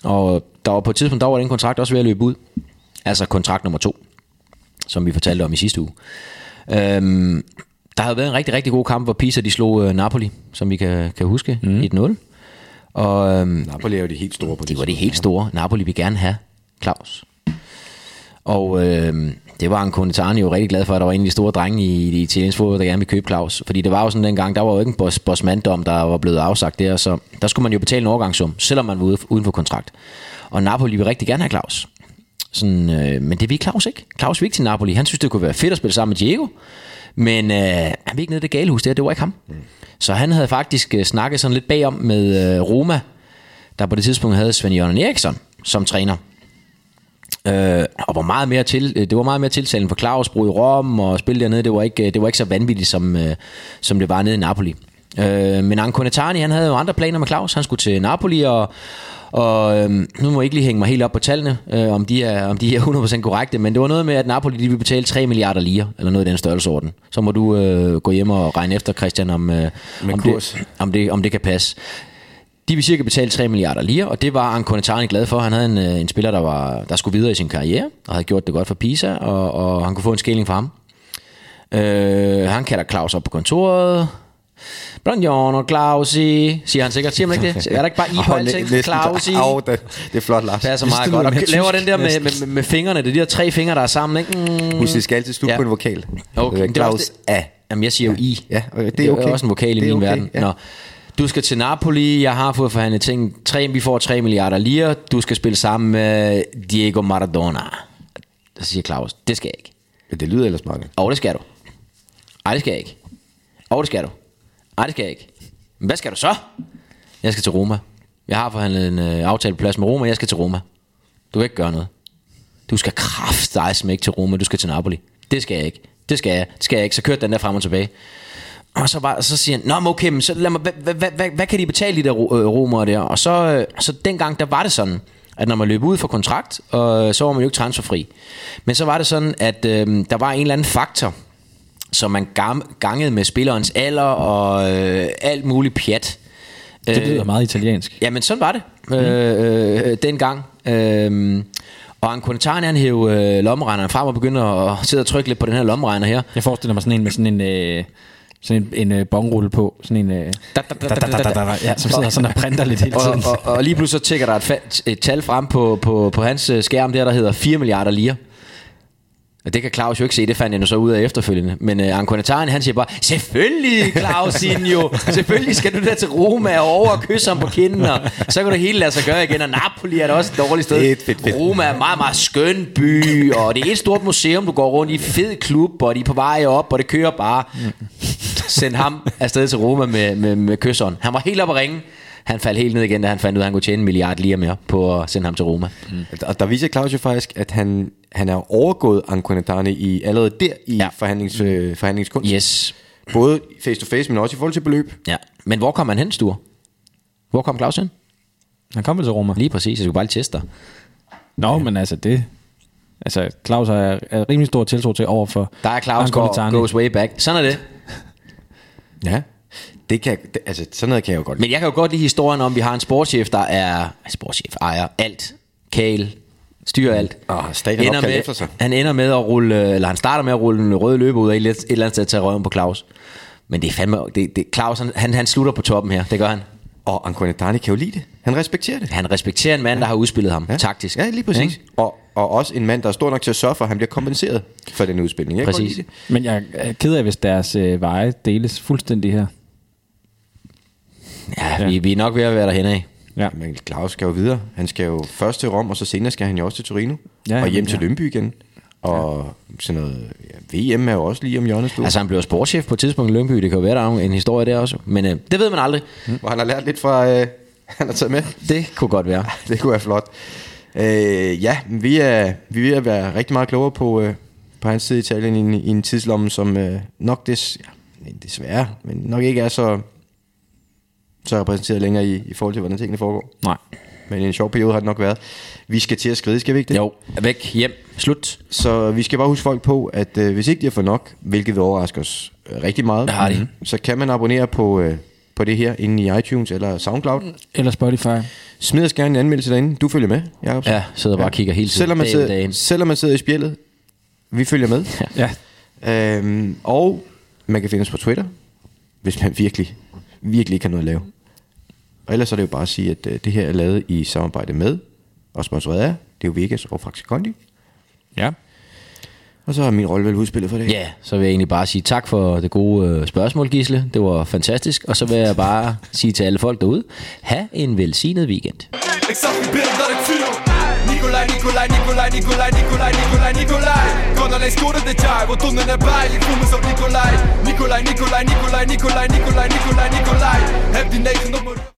C: og der var på et tidspunkt, der var den kontrakt også ved at løbe ud. Altså kontrakt nummer to, som vi fortalte om i sidste uge. Øhm, der havde været en rigtig, rigtig god kamp, hvor Pisa de slog øh, Napoli, som vi kan, kan huske, mm. 1-0. Og øhm,
B: Napoli er jo de helt store på det.
C: det var det helt store. Napoli vil gerne have Claus. Og øh, det var en Konetani jo rigtig glad for, at der var en af de store drenge i, i det italienske fodbold, der gerne ville købe Claus. Fordi det var jo sådan dengang, der var jo ikke en boss, bossmanddom, der var blevet afsagt der, så der skulle man jo betale en overgangssum, selvom man var ude, uden for kontrakt. Og Napoli vil rigtig gerne have Claus. Sådan, øh, men det vil Claus ikke. Claus vil ikke til Napoli. Han synes, det kunne være fedt at spille sammen med Diego. Men øh, han vil ikke ned i det gale hus der, det var ikke ham. Mm. Så han havde faktisk øh, snakket sådan lidt bagom med øh, Roma, der på det tidspunkt havde Svend Jørgen Eriksson som træner. Øh, og var meget mere til, øh, det var meget mere tiltalen for Claus Bro i Rom og spille dernede. Det var ikke, øh, det var ikke så vanvittigt, som, øh, som det var nede i Napoli. Øh, men Anconetani, han havde jo andre planer med Claus. Han skulle til Napoli, og, og øh, nu må jeg ikke lige hænge mig helt op på tallene, øh, om, de er, om de er 100% korrekte, men det var noget med, at Napoli de ville betale 3 milliarder lire, eller noget i den størrelseorden. Så må du øh, gå hjem og regne efter, Christian, om, øh, om,
B: kurs.
C: det, om, det, om det kan passe. De vil cirka betale 3 milliarder lire, og det var Ancone Tarni glad for. Han havde en, øh, en spiller, der, var, der skulle videre i sin karriere, og havde gjort det godt for Pisa, og, og han kunne få en skæling for ham. Øh, han kalder Claus op på kontoret. Buongiorno Clausi, siger han sikkert. Siger man ikke det? Er der ikke bare i på
B: Åh, næ-
C: alting?
B: næsten-
C: Clausi.
B: Au, det, det er flot, Lars.
C: passer meget godt. Og laver den der med, med, med fingrene, det er de der tre fingre, der er sammen, ikke? Mm.
B: Husk, det skal altid slutte
C: Ja.
B: på en vokal.
C: Okay,
B: det er
C: men det er også
B: Claus
C: det-
B: A.
C: Øh, Jamen, jeg siger jo I.
B: Ja, okay, det er
C: Det er
B: okay.
C: jo også en vokal i
B: Det er
C: min
B: okay,
C: verden.
B: ja.
C: Nå. Du skal til Napoli, jeg har fået forhandlet ting. Tre, vi får 3 milliarder lire. Du skal spille sammen med Diego Maradona. Så siger Claus, det skal jeg ikke.
B: Men det lyder ellers meget godt.
C: Og det skal du. Ej, det skal jeg ikke. Og det skal du. Ej, det skal jeg ikke. Men hvad skal du så? Jeg skal til Roma. Jeg har forhandlet en øh, aftaleplads med Roma, jeg skal til Roma. Du kan ikke gøre noget. Du skal kraft dig smæk til Roma, du skal til Napoli. Det skal jeg ikke. Det skal jeg. Det skal jeg ikke. Så kørte den der frem og tilbage. Og så, bare, så siger han, Nå, men okay, men så lad mig, hvad, hvad, hvad, hvad, hvad kan de betale de der ro- øh, romere der? Og så, øh, så dengang, der var det sådan, at når man løb ud for kontrakt, og øh, så var man jo ikke transferfri. Men så var det sådan, at øh, der var en eller anden faktor, som man gam- gangede med spillerens alder og øh, alt muligt pjat.
D: Det lyder meget italiensk.
C: Jamen, sådan var det mm.
D: Mhm.
C: øh, øh, dengang. Øh, og Ankonetaren, han hævde øh, lommeregneren frem og begyndte at sidde og trykke lidt på den her lommeregner her.
D: Jeg forestiller mig sådan en med sådan en... Øh, sådan en, en øh, bongrulle på, sådan en, øh, da, da, da, da, da, da, ja, som sidder sådan og printer lidt hele tiden.
C: og, og, og lige pludselig så tækker der et, fa- et tal frem på, på, på hans øh, skærm der, der hedder 4 milliarder lire. Og det kan Claus jo ikke se, det fandt jeg nu så ud af efterfølgende. Men øh, Ankonataren, han siger bare, selvfølgelig Clausinho, selvfølgelig skal du der til Roma og over og kysse ham på kinden, og så kan du hele lade sig gøre igen. Og Napoli er da også et dårligt sted.
B: Fedt, fedt, fedt.
C: Roma er en meget, meget skøn by, og det er et stort museum, du går rundt i, fed klub, og de er på vej op, og det kører bare.
B: Mm.
C: Send ham afsted til Roma med, med, med kysseren. Han var helt oppe at ringe. Han faldt helt ned igen, da han fandt ud af, at han kunne tjene en milliard lige mere på at sende ham til Roma.
B: Og der viser Claus jo faktisk, at han, han er overgået Ankonetane i allerede der i ja.
C: Ja.
B: forhandlings, øh, forhandlingskunst.
C: Yes.
B: Både face to face, men også i forhold til beløb.
C: Ja. Men hvor kom han hen, Sture? Hvor kom Claus hen?
D: Han kom vel til Roma.
C: Lige præcis, jeg skulle bare lige teste dig.
D: Nå, ja. men altså det... Altså, Claus er, er rimelig stor tiltro til over for...
C: Der er Claus
D: Ancona
C: går,
D: Tarni.
C: goes way back. Sådan er det.
B: Ja. Det kan, det, altså, sådan noget kan jeg jo godt lide.
C: Men jeg kan jo godt lide historien om, at vi har en sportschef, der er sportschef, ejer alt, kæl, styrer alt.
B: Ah, staten er
C: Ender
B: opkaldt
C: med,
B: efter sig.
C: Han ender med at rulle, øh, eller han starter med at rulle en rød løber ud af et, eller- et eller andet sted til at tage røven på Claus. Men det er fandme, det, det, Claus han, han, han slutter på toppen her, det gør han.
B: Og Ankonetane kan jo lide det. Han respekterer det.
C: Han respekterer en mand, der har udspillet ham
B: Ja.
C: taktisk.
B: Ja, lige præcis.
C: Ikke?
B: Og, og også en mand, der er stor nok til at sørge for, at han bliver kompenseret for den udspilning. Jeg kan
C: Præcis.
B: godt lide det.
D: Men jeg er ked af, hvis deres øh, veje deles fuldstændig her.
C: Ja, Vi, vi er nok ved at være derhen af.
D: Ja.
B: Men Claus skal jo videre. Han skal jo først til Rom, og så senere skal han jo også til Torino.
D: Ja,
B: Ja,
D: ja,
B: og hjem
D: ja.
B: til Lønby igen. Og sådan noget... Ja, VM er jo også lige om hjørnet. Altså,
C: Altså han blev sportschef på et tidspunkt i Lyngby, det kan jo være, der er en- en historie der også. Men øh, det ved man aldrig.
B: hvor han har lært lidt fra... Øh, han har taget med.
C: Det kunne godt være.
B: Det kunne være flot. Øh, ja, men vi er, vi er ved at være rigtig meget klogere på, øh, på hans tid i Italien i, en- i en tidslomme, som øh, nok des, ja, desværre, men nok ikke er så, så repræsenteret længere i, i forhold til, hvordan tingene foregår.
D: Nej.
B: Men en sjov periode har det nok været. Vi skal til at skride, skal vi ikke det?
C: Jo, væk, hjem, slut.
B: Så vi skal bare huske folk på, at øh, hvis ikke de har fået nok, hvilket vil overraske os øh, rigtig meget, mm-hmm.
C: Det har de.
B: så kan man abonnere på, øh, på det her inde i iTunes eller SoundCloud.
D: Eller Spotify.
B: Smid os gerne en anmeldelse derinde. Du følger med, Jacob.
C: Ja, sidder bare og kigger hele tiden,
B: Selvom man,
C: dag ud,
B: sidder,
C: dag ind.
B: selvom man sidder i spjældet, vi følger med.
D: Ja.
B: Ja. Øhm, og man kan finde os på Twitter, hvis man virkelig, virkelig ikke har noget at lave. Og ellers så er det jo bare at sige, at øh, det her er lavet i samarbejde med og sponsoreret af det er jo Vegas og Fraxi Kondi.
D: Ja.
B: Og så har min rolle vel udspillet for det.
C: Ja, så vil jeg egentlig bare sige tak for det gode øh, spørgsmål, Gisle. Det var fantastisk. Og så vil jeg bare sige til alle folk derude, have en velsignet weekend.
G: Ik zag een beeld dat ik viel. Nicolai, Nicolai, Nicolai, Nicolai, Nicolai, Nicolai, Nicolai. Kan alleen scoren dit jaar, want tonnen erbij. Ik voel me zo Nicolai. Nicolai, Nicolai, Nicolai, Nicolai, Nicolai, Nicolai, Nicolai, Nicolai. Heb die negen op mijn...